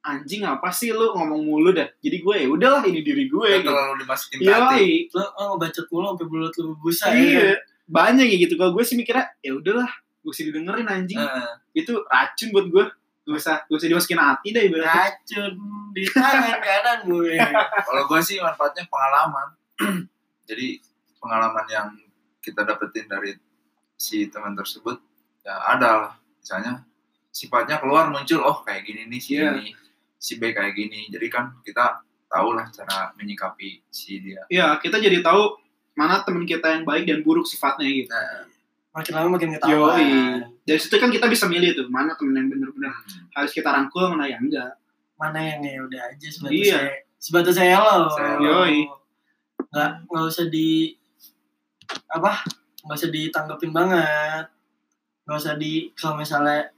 Speaker 2: anjing apa sih lu ngomong mulu dah jadi gue ya udahlah ini diri gue
Speaker 3: nggak
Speaker 2: gitu.
Speaker 3: terlalu dimasukin ke
Speaker 2: Yoi,
Speaker 3: hati.
Speaker 1: Lo oh, ngebacot mulu sampai mulut lu busa ya.
Speaker 2: iya banyak ya gitu kalau gue sih mikirnya ya udahlah gue sih didengerin anjing
Speaker 3: Eh,
Speaker 2: itu racun buat gue gak usah gak usah dimasukin hati deh
Speaker 3: Nah.
Speaker 2: ibaratnya
Speaker 1: Racun di tangan kanan gue.
Speaker 3: Kalau gue sih manfaatnya pengalaman. Jadi pengalaman yang kita dapetin dari si teman tersebut ya ada lah. Misalnya sifatnya keluar muncul, oh kayak gini nih si
Speaker 2: Iya.
Speaker 3: ini, si B kayak gini. Jadi kan kita tahu lah cara menyikapi si dia.
Speaker 2: ya kita jadi tahu mana teman kita yang baik dan buruk sifatnya gitu
Speaker 3: Nah,
Speaker 1: Makin lama makin ketawa.
Speaker 2: Yoi. dari situ kan kita bisa milih tuh mana temen yang bener-bener
Speaker 3: Hmm.
Speaker 2: harus kita rangkul mana yang enggak
Speaker 1: Mana yang ya udah aja sebatas
Speaker 2: Iya.
Speaker 1: saya. Sebatas saya lo.
Speaker 3: Saya
Speaker 2: lo. Yoi.
Speaker 1: Nggak, nggak usah di... Apa? Nggak usah ditanggepin banget. Nggak usah di... Kalau misalnya...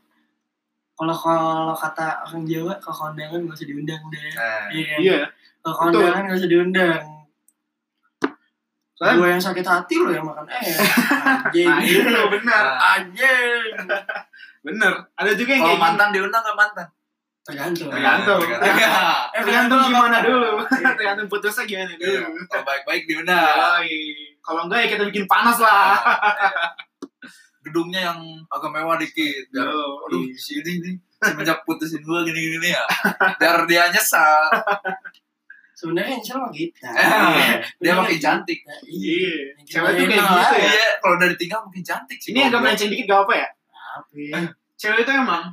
Speaker 1: Kalau kalau kata orang Jawa, kalau kondangan nggak usah diundang deh.
Speaker 3: nah,
Speaker 1: Iya kan?
Speaker 2: iya
Speaker 1: Kalau
Speaker 2: Betul.
Speaker 1: kondangan nggak usah diundang.
Speaker 2: Soalnya-
Speaker 1: Gue yang sakit hati lo yang makan eh. Anjing.
Speaker 2: nah
Speaker 3: Iya.
Speaker 2: itu benar
Speaker 3: nah,
Speaker 1: Anjing.
Speaker 2: bener ada juga yang
Speaker 3: kalau
Speaker 2: kayak gitu.
Speaker 3: mantan diundang nggak mantan?
Speaker 1: Tergantung.
Speaker 2: Tergantung.
Speaker 3: Tergantung.
Speaker 1: Eh,
Speaker 2: gini. tergantung gimana dulu
Speaker 1: Iya.
Speaker 2: tergantung putusnya gimana
Speaker 3: Iya,
Speaker 2: dulu
Speaker 3: Kalau baik-baik diundang.
Speaker 2: Yoi. kalau enggak ya kita bikin panas lah
Speaker 3: Iya. Gedungnya yang agak mewah dikit. Biar aduh
Speaker 2: Yoi.
Speaker 3: si ini nih semenjak putusin gue gini gini nih ya biar dia nyesal
Speaker 1: Sebenarnya gitu. yang salah kita.
Speaker 3: Eh, dia makin cantik
Speaker 1: Nah,
Speaker 2: iya
Speaker 1: Yang kita
Speaker 2: cewek tuh kayak
Speaker 1: enak.
Speaker 2: gitu ya
Speaker 3: iya kalau udah ditinggal makin cantik sih
Speaker 2: ini agak melenceng dikit gak apa ya
Speaker 1: Tapi
Speaker 2: cewek itu emang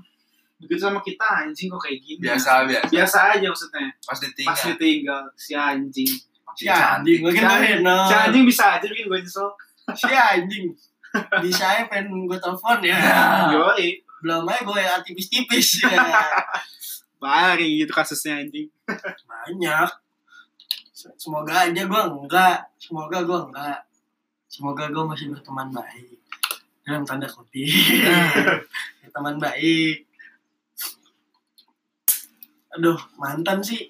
Speaker 2: begitu sama kita anjing kok kayak gini
Speaker 3: biasa Iya. biasa
Speaker 2: biasa aja maksudnya
Speaker 3: pas ditinggal
Speaker 2: pas ya, ditinggal si anjing
Speaker 3: makin
Speaker 1: si anjing makin
Speaker 3: Iya,
Speaker 2: Si
Speaker 1: makin.
Speaker 2: anjing- si anjing bisa aja bikin gue nyesel
Speaker 1: Si anjing. Di saya pengen gue telepon ya.
Speaker 3: Ah. Nah,
Speaker 2: yoi
Speaker 1: Belum aja gue yang tipis-tipis ya.
Speaker 2: Bari gitu kasusnya anjing.
Speaker 1: Banyak. Se- Semoga aja gue enggak. Semoga gue enggak. Semoga gue masih berteman baik. Dalam tanda kutip. berteman baik. Aduh, mantan sih.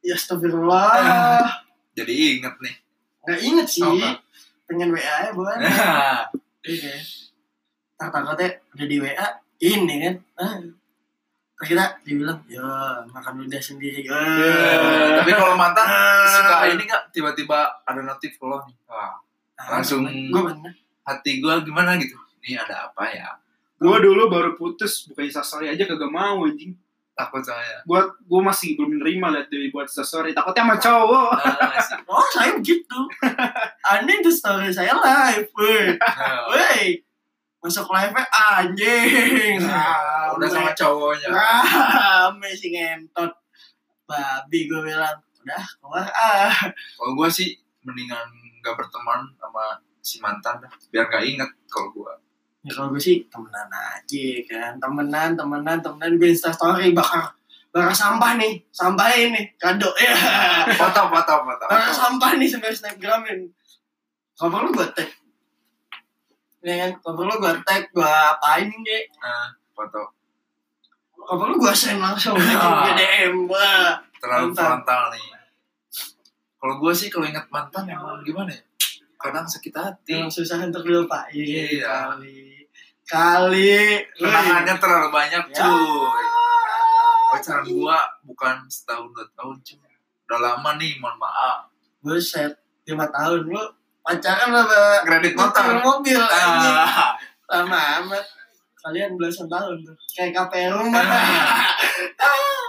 Speaker 1: Ya astagfirullah.
Speaker 3: jadi inget nih
Speaker 1: Nggak inget Nah, sih.
Speaker 3: Oh, nggak.
Speaker 1: Pengen WA ya, bukan?
Speaker 3: Eh?
Speaker 2: Eh.
Speaker 1: Iya. Ntar takutnya udah di WA, ini kan. Ah. Terus kita dibilang, ya makan udah sendiri.
Speaker 3: Eh,
Speaker 1: Ah.
Speaker 3: tapi kalau mantan
Speaker 2: Eh.
Speaker 1: Ah.
Speaker 3: suka ini nggak tiba-tiba ada notif lo nih Wah,
Speaker 1: Nah,
Speaker 3: Langsung-
Speaker 1: Gue pernah.
Speaker 3: hati gue gimana gitu ini ada apa ya
Speaker 2: Gue dulu baru putus, bukannya sasori aja kagak mau anjing.
Speaker 3: takut saya
Speaker 2: Gue gue masih belum menerima lihat dia buat sasori. Takutnya sama cowok.
Speaker 3: Ah, sih.
Speaker 1: Oh saya begitu. Aneh tuh story saya live. Woi,
Speaker 3: Ah,
Speaker 1: woi. Masuk live nya anjing.
Speaker 3: Nah, udah sama cowoknya
Speaker 1: Rame sih ngentot. Babi gue bilang, udah keluar ah.
Speaker 3: kalau gue sih mendingan nggak berteman sama si mantan dah biar nggak inget kalau gue
Speaker 1: Ya kalau gue sih temenan aja kan, temenan, temenan, temenan gue instastory bakar bakar sampah nih, sampah ini kado ya,
Speaker 3: foto foto foto
Speaker 1: bakar sampah nih sambil snapgramin. Kalau perlu gue tag, ya kan? Kalau perlu gue tag, gue apain deh?
Speaker 3: Nah, foto
Speaker 1: Kalau perlu gue send langsung
Speaker 3: Ah.
Speaker 1: ke DM gue.
Speaker 3: terlalu
Speaker 1: Mantan.
Speaker 3: frontal nih kalau gue sih kalau inget mantan emang gimana ya kadang sakit hati
Speaker 1: Yang susah untuk dilupain
Speaker 3: Iya.
Speaker 1: kali, kali.
Speaker 3: kenangannya terlalu banyak
Speaker 1: Ya.
Speaker 3: cuy pacaran
Speaker 1: gue.
Speaker 3: gue bukan setahun dua tahun cuy udah lama nih mohon maaf
Speaker 1: set lima tahun lu pacaran apa?
Speaker 3: kredit
Speaker 1: Motor
Speaker 3: motor
Speaker 1: mobil anjing.
Speaker 3: Ah,
Speaker 1: lama amat kalian belasan tahun tuh kayak KPR rumah
Speaker 3: Ah.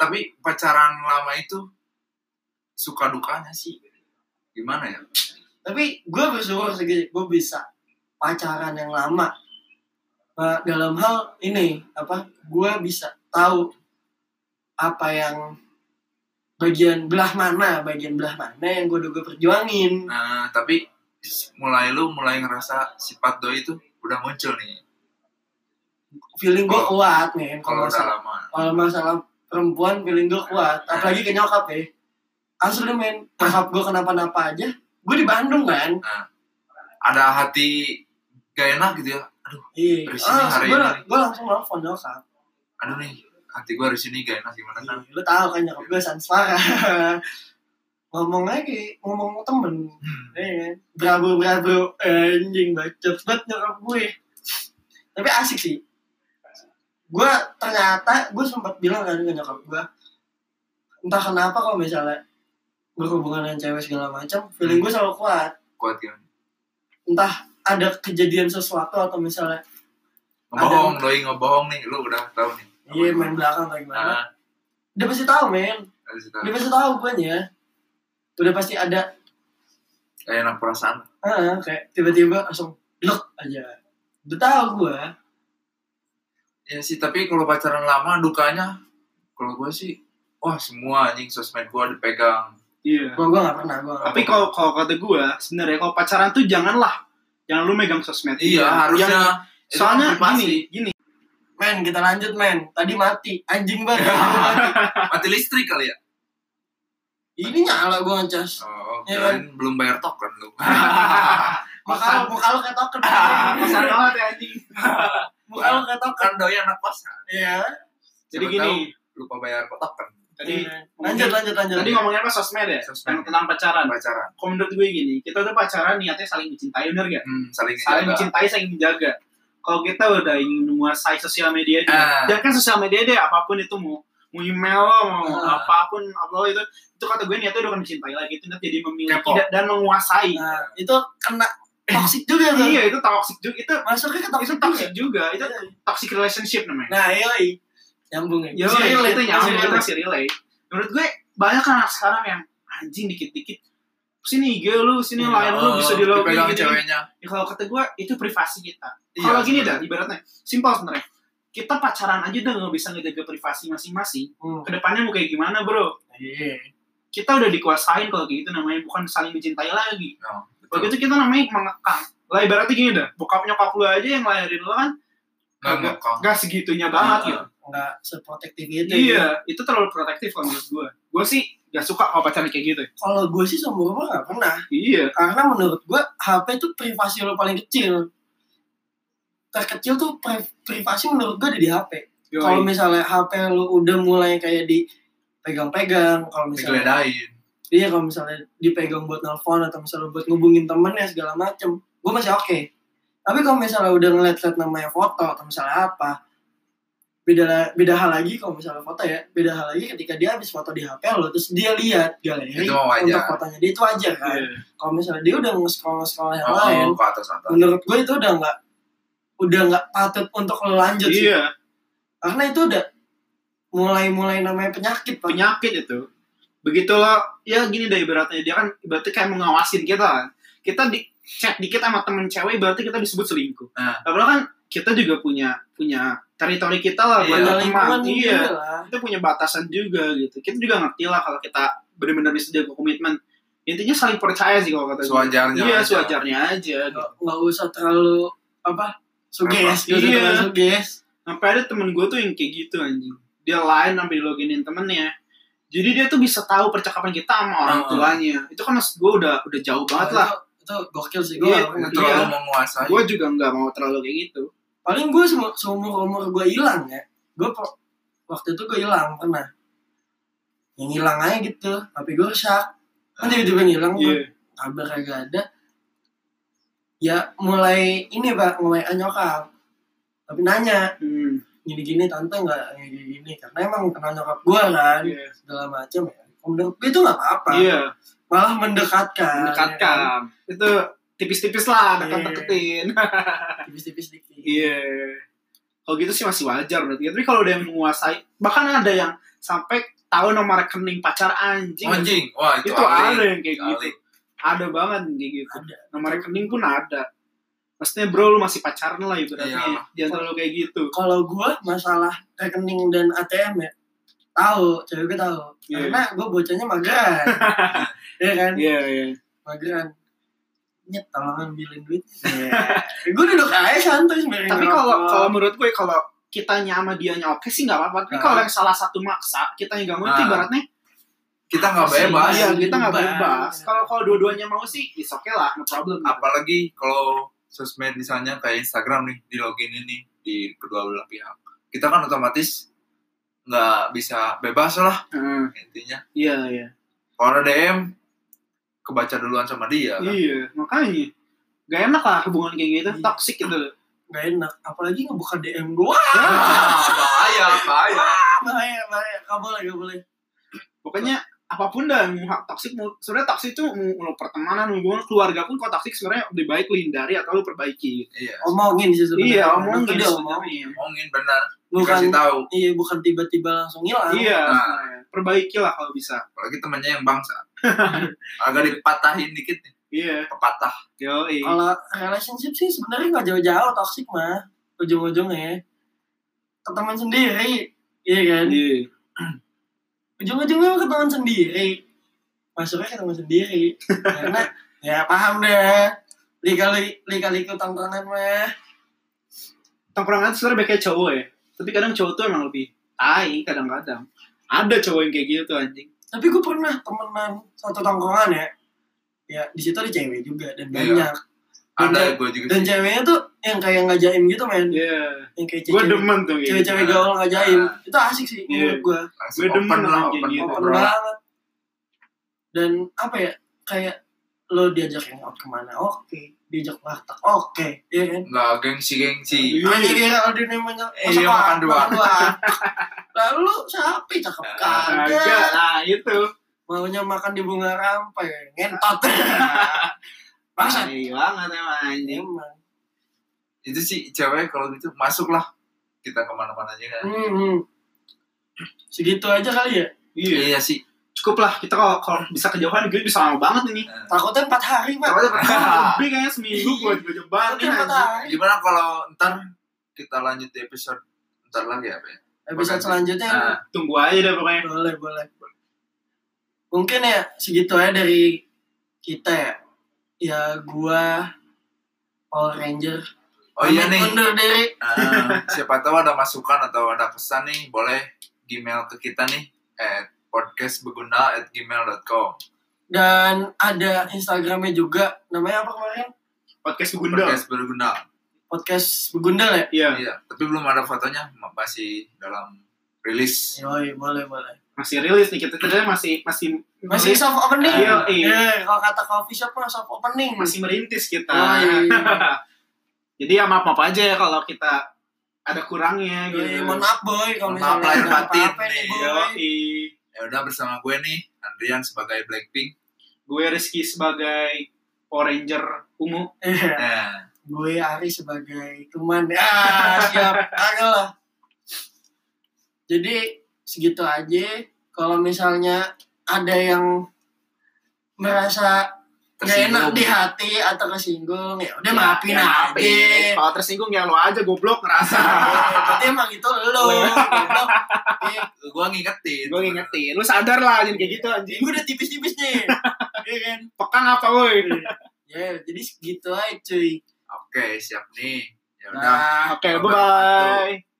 Speaker 3: tapi pacaran lama itu suka dukanya sih gimana ya
Speaker 1: tapi gue bersyukur segini gue bisa pacaran yang lama Nah, dalam hal ini apa gue bisa tahu apa yang bagian belah mana bagian belah mana yang gue udah gue perjuangin
Speaker 3: nah tapi mulai lu mulai ngerasa sifat doi itu udah muncul nih
Speaker 1: feeling gue kuat nih kalau
Speaker 3: kalau udah
Speaker 1: masalah
Speaker 3: lama
Speaker 1: kalau masalah perempuan feeling gue kuat apalagi ke nyokap ya asli men nyokap gue kenapa-napa aja gue di Bandung kan
Speaker 3: ada hati gak enak gitu ya aduh
Speaker 1: Iya.
Speaker 3: Terus ini
Speaker 1: Ah,
Speaker 3: hari
Speaker 1: gue,
Speaker 3: ini.
Speaker 1: gue langsung nelfon nyokap.
Speaker 3: aduh nih hati gue harus ini gak enak gimana kan
Speaker 1: Lu tahu kan nyokap gue sansara. ngomong lagi ngomong ke temen
Speaker 3: Hmm.
Speaker 1: ya kan bravo bravo anjing bacot banget nyokap gue tapi asik sih gue ternyata gue sempat bilang kan ke nyokap gue entah kenapa kalau misalnya berhubungan dengan cewek segala macam feeling gue selalu kuat
Speaker 3: Kuat kan?
Speaker 1: entah ada kejadian sesuatu atau misalnya
Speaker 3: Ngebohong, doi ngebohong nih. Lu udah tahu nih.
Speaker 1: iya main belakang kayak gimana
Speaker 3: Nah,
Speaker 1: dia pasti tahu men
Speaker 3: harus
Speaker 1: dia
Speaker 3: tahu.
Speaker 1: pasti tahu gue ya udah pasti ada
Speaker 3: Kayak enak perasaan.
Speaker 1: ah, kayak tiba-tiba langsung blok aja udah tahu gue
Speaker 3: Ya sih, tapi kalau pacaran lama dukanya kalau gue sih wah semua anjing sosmed gua dipegang.
Speaker 2: Iya.
Speaker 1: gue gue gak pernah gue
Speaker 3: Iya.
Speaker 2: Tapi kalau kalau kata gue, sebenarnya kalau pacaran tuh janganlah, jangan lu megang sosmed.
Speaker 3: Iya,
Speaker 2: Yang-
Speaker 3: harusnya Itu
Speaker 2: soalnya
Speaker 3: privasi.
Speaker 2: gini, gini.
Speaker 1: men kita lanjut men tadi mati anjing banget
Speaker 3: mati listrik kali ya.
Speaker 1: ini nyala gue ngecas
Speaker 3: Oh,
Speaker 1: Iya,
Speaker 3: kirain
Speaker 2: kan?
Speaker 3: belum bayar token lu.
Speaker 1: muka lo muka lo kayak token
Speaker 2: Pesan banget ya anjing.
Speaker 1: muka lo kayak token
Speaker 3: kan doi anak kosan
Speaker 1: iya
Speaker 2: Jadi
Speaker 3: Siapa Iya.
Speaker 2: gini,
Speaker 3: lupa bayar token.
Speaker 2: tadi
Speaker 1: Iya. lanjut lanjut lanjut
Speaker 2: tadi ngomongnya apa sosmed ya? Tentang,
Speaker 3: Sosmed.
Speaker 2: tentang pacaran.
Speaker 3: Pacaran.
Speaker 2: Kalau menurut gue gini, kita tuh pacaran niatnya saling mencintai, bener gak?
Speaker 3: Hmm, saling
Speaker 2: Saling
Speaker 3: jaga.
Speaker 2: mencintai, saling menjaga. Kalau kita udah ingin menguasai sosial media dia,
Speaker 3: Ah.
Speaker 2: jangan kan sosial media deh, apapun itu mau mau email lo, mau
Speaker 1: Ah.
Speaker 2: apapun upload itu, itu kata gue niatnya udah mencintai lagi, itu niat jadi memiliki
Speaker 3: Kepo.
Speaker 2: dan, dan menguasai.
Speaker 1: nah itu kena toxic juga tuh
Speaker 2: Iya, itu toxic juga, itu
Speaker 1: masuknya ke
Speaker 2: itu
Speaker 1: kan? toxic
Speaker 2: toxic
Speaker 1: juga. ya?
Speaker 2: juga, itu toxic relationship namanya.
Speaker 1: Nah, yoi. Nyambung ya. Iya.
Speaker 2: Yo,
Speaker 3: Iya,
Speaker 1: Masih
Speaker 2: itu
Speaker 1: relate,
Speaker 2: itu
Speaker 1: masih
Speaker 2: nyambung itu
Speaker 1: relate.
Speaker 2: masih relate. Menurut gue banyak kan anak sekarang yang anjing dikit-dikit sini IG lu, sini lain kan lu bisa di login
Speaker 3: Iya, oh, Dipegang
Speaker 2: gitu.
Speaker 3: ceweknya.
Speaker 2: Ya, kalau kata gue itu privasi kita.
Speaker 3: Iya,
Speaker 2: kalau gini dah,
Speaker 3: sebenarnya.
Speaker 2: ibaratnya simpel sebenarnya. Kita pacaran aja udah nggak bisa ngejaga privasi masing-masing.
Speaker 1: Hmm.
Speaker 2: Kedepannya mau kayak gimana bro?
Speaker 1: Iya.
Speaker 2: Kita udah dikuasain kalau kayak gitu namanya bukan saling mencintai lagi.
Speaker 3: No, betul.
Speaker 2: Kalau gitu kita namanya mengekang. Lah ibaratnya gini dah, bokap nyokap lu aja yang lahirin lu kan
Speaker 3: Nggak ngekang.
Speaker 2: gak segitunya
Speaker 3: Iya.
Speaker 2: banget gitu.
Speaker 1: Enggak seprotektif itu. ya.
Speaker 2: Iya, itu terlalu protektif kalau menurut gue. Gue sih gak suka kalau pacaran kayak gitu.
Speaker 1: Kalau gue sih seumur gue gak pernah.
Speaker 2: Iya.
Speaker 1: Karena menurut gue HP itu privasi lo paling kecil. Terkecil tuh pri- privasi menurut gue ada di HP. Kalau
Speaker 2: Kalau
Speaker 1: misalnya HP lo udah mulai kayak di pegang-pegang, kalau misalnya
Speaker 3: Digeledahin.
Speaker 1: iya kalau misalnya dipegang buat nelfon atau misalnya buat ngubungin temennya segala macem, gue masih oke. Tapi kalau misalnya udah ngeliat-liat namanya foto atau misalnya apa, beda la- beda hal lagi kalau misalnya foto ya, beda hal lagi ketika dia habis foto di HP lo, terus dia lihat galeri
Speaker 3: Itu mau
Speaker 1: untuk
Speaker 3: aja.
Speaker 1: fotonya dia itu aja kan.
Speaker 2: Iya.
Speaker 1: Kalau misalnya dia udah nge-scroll-scroll yang lain,
Speaker 3: Oh, ke atas atas.
Speaker 1: menurut gue itu udah nggak udah nggak patut untuk lo lanjut sih.
Speaker 2: Iya,
Speaker 1: Karena itu udah mulai-mulai namanya penyakit pak.
Speaker 2: penyakit itu. Begitu lo, ya gini deh ibaratnya. Dia kan ibaratnya kayak mengawasin kita kan. Kita di chat dikit sama temen cewek berarti kita disebut selingkuh.
Speaker 3: Ah.
Speaker 2: Padahal kan kita juga punya punya teritori kita lah buat
Speaker 3: Iya.
Speaker 1: Ada
Speaker 2: teman.
Speaker 1: lingkungan
Speaker 2: Iya.
Speaker 1: juga lah.
Speaker 2: Kita punya batasan juga gitu. Kita juga ngerti lah kalau kita benar-benar bisa jaga komitmen. Intinya saling percaya sih kalau kata gue.
Speaker 3: Sewajarnya.
Speaker 2: Iya,
Speaker 3: aja.
Speaker 2: sewajarnya aja. Gitu.
Speaker 1: nggak nggak usah terlalu apa suges nggak usah
Speaker 2: Iya.
Speaker 1: terlalu suges
Speaker 2: sampai ada temen gue tuh yang kayak gitu anjing dia lain sampai di loginin temennya jadi dia tuh bisa tahu percakapan kita sama orang
Speaker 3: Heeh.
Speaker 2: tuanya itu kan maksud gue udah udah jauh banget lah
Speaker 1: Itu- itu gokil sih
Speaker 2: Iya.
Speaker 1: gue
Speaker 3: Itu
Speaker 2: Iya.
Speaker 3: terlalu menguasai.
Speaker 2: gue juga nggak mau terlalu kayak gitu
Speaker 1: paling gue seumur umur gue hilang ya gue per- waktu itu gue hilang pernah yang hilang aja gitu tapi gue rusak kan tiba-tiba hilang
Speaker 2: iya
Speaker 1: kabar kagak ada ya mulai ini pak mulai nyokap tapi nanya
Speaker 2: hmm.
Speaker 1: gini-gini tante nggak kayak gini karena emang kenal nyokap gue kan
Speaker 2: iya
Speaker 1: segala macam ya menurut gue itu nggak apa-apa
Speaker 2: Iya,
Speaker 1: malah mendekatkan ya
Speaker 2: mendekatkan itu tipis-tipis lah dekat-deketin
Speaker 1: kan? tipis-tipis dikit
Speaker 2: iya kalau gitu sih masih wajar berarti tapi kalau udah yang menguasai bahkan ada yang sampai tahu nomor rekening pacar anjing
Speaker 3: Anjing. Wah, itu,
Speaker 2: Oh, iya. itu
Speaker 3: alay.
Speaker 2: ada yang kayak gitu
Speaker 3: Alay.
Speaker 2: ada banget yang kayak gitu
Speaker 1: ada
Speaker 2: nomor rekening pun ada maksudnya bro lu masih pacaran lah ibaratnya
Speaker 3: Iya.
Speaker 2: jangan terlalu kayak gitu
Speaker 1: kalau gua masalah rekening dan ATM ya tahu cewek gue tahu
Speaker 2: Iya.
Speaker 1: karena gue bocahnya mageran ya kan
Speaker 2: iya iya
Speaker 1: mageran nyet tolong ambilin duit gue duduk aja santai sembari
Speaker 2: Iya. tapi
Speaker 1: ngerokok.
Speaker 2: kalau kalau menurut gue kalau kitanya sama dianya oke sih nggak apa-apa tapi
Speaker 1: Ah.
Speaker 2: kalau yang salah satu maksa kitanya nggak mau itu
Speaker 3: Ah.
Speaker 2: ibaratnya
Speaker 3: Kita nggak
Speaker 1: Masih,
Speaker 3: bebas.
Speaker 2: iya kita nggak
Speaker 1: Bebas.
Speaker 2: bebas kalau kalau dua-duanya mau sih is oke lah no problem
Speaker 3: apalagi kalau sosmed misalnya kayak Instagram nih di login ini di kedua belah pihak kita kan otomatis nggak bisa bebas lah
Speaker 2: Heeh.
Speaker 3: intinya
Speaker 2: iya iya
Speaker 3: kalau ada DM kebaca duluan sama dia kan?
Speaker 2: Iya, makanya. Gak enak lah hubungan kayak gitu,
Speaker 1: Iya.
Speaker 2: toxic gitu loh.
Speaker 1: Gak enak. Apalagi ngebuka DM doang.
Speaker 3: Ah, bahaya bahaya
Speaker 1: Bahaya, bahaya. Gak boleh, gak boleh.
Speaker 2: Pokoknya apapun dah, mau hak toxic, mau, sebenarnya toxic itu mau lo pertemanan, hubungan keluarga pun kalau toxic sebenarnya lebih baik lo hindari atau lo perbaiki.
Speaker 3: iya
Speaker 1: Omongin sih sebenarnya.
Speaker 2: Iya,
Speaker 1: Emang
Speaker 2: omongin
Speaker 1: tuh dia
Speaker 2: sebenarnya.
Speaker 3: ngomongin benar
Speaker 1: Bukan,
Speaker 3: dikasih tahu
Speaker 1: iya, bukan tiba-tiba langsung hilang.
Speaker 2: Iya,
Speaker 3: Nah.
Speaker 2: sebenarnya. perbaiki lah kalau bisa.
Speaker 3: apalagi temennya yang bangsa agak dipatahin dikit nih
Speaker 2: Iya,
Speaker 3: pepatah
Speaker 2: yo
Speaker 1: Kalau relationship sih sebenarnya nggak jauh-jauh toxic mah. Ujung-ujungnya. Ke teman sendiri. Iya kan?
Speaker 2: Iya.
Speaker 1: Ujung-ujungnya ke teman sendiri. Masuknya ke teman sendiri. Karena, ya paham deh. Lika-li- Lika-liku tongkrongan mah.
Speaker 2: Tongkrongan sebenarnya kayak cowok ya. Tapi kadang cowok tuh emang lebih tai kadang-kadang. Ada cowok yang kayak gitu tuh anjing.
Speaker 1: tapi gue pernah temenan satu tongkrongan ya ya di situ ada cewek juga dan
Speaker 3: Iya.
Speaker 1: banyak
Speaker 3: ada gue juga
Speaker 1: dan
Speaker 3: sih
Speaker 1: ceweknya tuh yang kayak ngajain gitu men
Speaker 2: Iya.
Speaker 1: yang kayak
Speaker 2: Gue
Speaker 1: cewek
Speaker 2: demen tuh kayak gitu.
Speaker 1: cewek gaul ngajain itu asik sih menurut
Speaker 2: Iya.
Speaker 1: gue
Speaker 3: langsung
Speaker 2: gue demen
Speaker 3: open lah
Speaker 2: sama
Speaker 3: open
Speaker 2: kayak gitu.
Speaker 1: open
Speaker 3: obrolan
Speaker 1: banget dan apa ya kayak lo diajak yang out kemana oke diajak warteg oke iya kan
Speaker 3: nggak gengsi gengsi
Speaker 2: Iya.
Speaker 1: Hanya kira kalau dia namanya
Speaker 3: Eh, iya, makan dua.
Speaker 1: Lalu sapi cakep
Speaker 2: Kagak
Speaker 1: kagak
Speaker 2: lah Nah, itu.
Speaker 1: Maunya makan di bunga rampai Ngentot Bangsat
Speaker 2: Tai banget emang anjing.
Speaker 1: Emang.
Speaker 3: itu sih cewek kalau gitu masuklah kita kemana-mana aja kan
Speaker 1: Hmm. Segitu aja kali ya.
Speaker 2: Iya.
Speaker 3: iya sih
Speaker 2: Cukup lah kita kalau kalau bisa kejauhan gue bisa lama banget ini.
Speaker 1: Takutnya empat hari, Pak.
Speaker 3: Ah.
Speaker 2: Lebih kayaknya seminggu buat gue jeban
Speaker 1: Takutnya empat hari.
Speaker 3: gimana kalau ntar kita lanjut di episode ntar lagi apa ya
Speaker 1: Episode selanjutnya
Speaker 3: Nah,
Speaker 2: Tunggu aja deh pokoknya.
Speaker 1: boleh, boleh. Mungkin ya segitu aja dari kita ya. Ya gua Power Ranger.
Speaker 3: oh iya
Speaker 1: Pamit
Speaker 3: nih
Speaker 1: Undur diri.
Speaker 3: Ah, siapa tahu ada masukan atau ada pesan nih boleh email ke kita nih at podcastbeguna at gmail.com
Speaker 1: Dan ada Instagramnya juga. Namanya apa kemarin?
Speaker 2: Podcast Gundel.
Speaker 3: podcast berguna
Speaker 1: Podcast Begundal ya?
Speaker 2: Iya.
Speaker 3: iya tapi belum ada fotonya ma- masih dalam rilis
Speaker 1: Yoi, boleh, boleh.
Speaker 2: Masih rilis nih kita ternyata masih masih
Speaker 1: Masih soft opening.
Speaker 2: Iya,
Speaker 1: Iya,
Speaker 2: iya.
Speaker 1: kalau kata coffee shop mah soft opening.
Speaker 2: masih merintis kita.
Speaker 1: Oh, iya, iya.
Speaker 2: Jadi ya maaf maaf aja ya kalau kita ada kurangnya gitu.
Speaker 1: Yoi, Iya, mohon maaf boy kalau
Speaker 3: Mohon maaf
Speaker 1: misalnya
Speaker 3: lahir
Speaker 1: ada
Speaker 3: batin
Speaker 1: apa-apa nih
Speaker 3: nih,
Speaker 1: boy.
Speaker 2: Yoi.
Speaker 3: ya udah bersama gue nih Andrian sebagai Blackpink
Speaker 2: Gue Rizky sebagai Oranger ungu.
Speaker 1: Iya.
Speaker 3: nah,
Speaker 1: gue Ari sebagai teman ah siap kagak lah jadi segitu aja kalau misalnya ada yang merasa nggak enak
Speaker 3: tersinggung.
Speaker 1: di hati atau kesinggung ya udah
Speaker 2: Ya,
Speaker 1: maafin
Speaker 2: ya,
Speaker 1: aja
Speaker 2: maafin. Kalau tersinggung ya lo aja goblok ngerasa.
Speaker 1: Eh, berarti emang itu lo gitu
Speaker 3: gue ngingetin
Speaker 2: gue ngingetin, lu sadar lah jangan kayak gitu anjing.
Speaker 1: gue udah tipis-tipis nih Iya kan
Speaker 2: Pekan apa woi?
Speaker 1: ya jadi segitu aja cuy
Speaker 3: oke siap nih ya udah
Speaker 1: nah
Speaker 2: Oke, bye bye.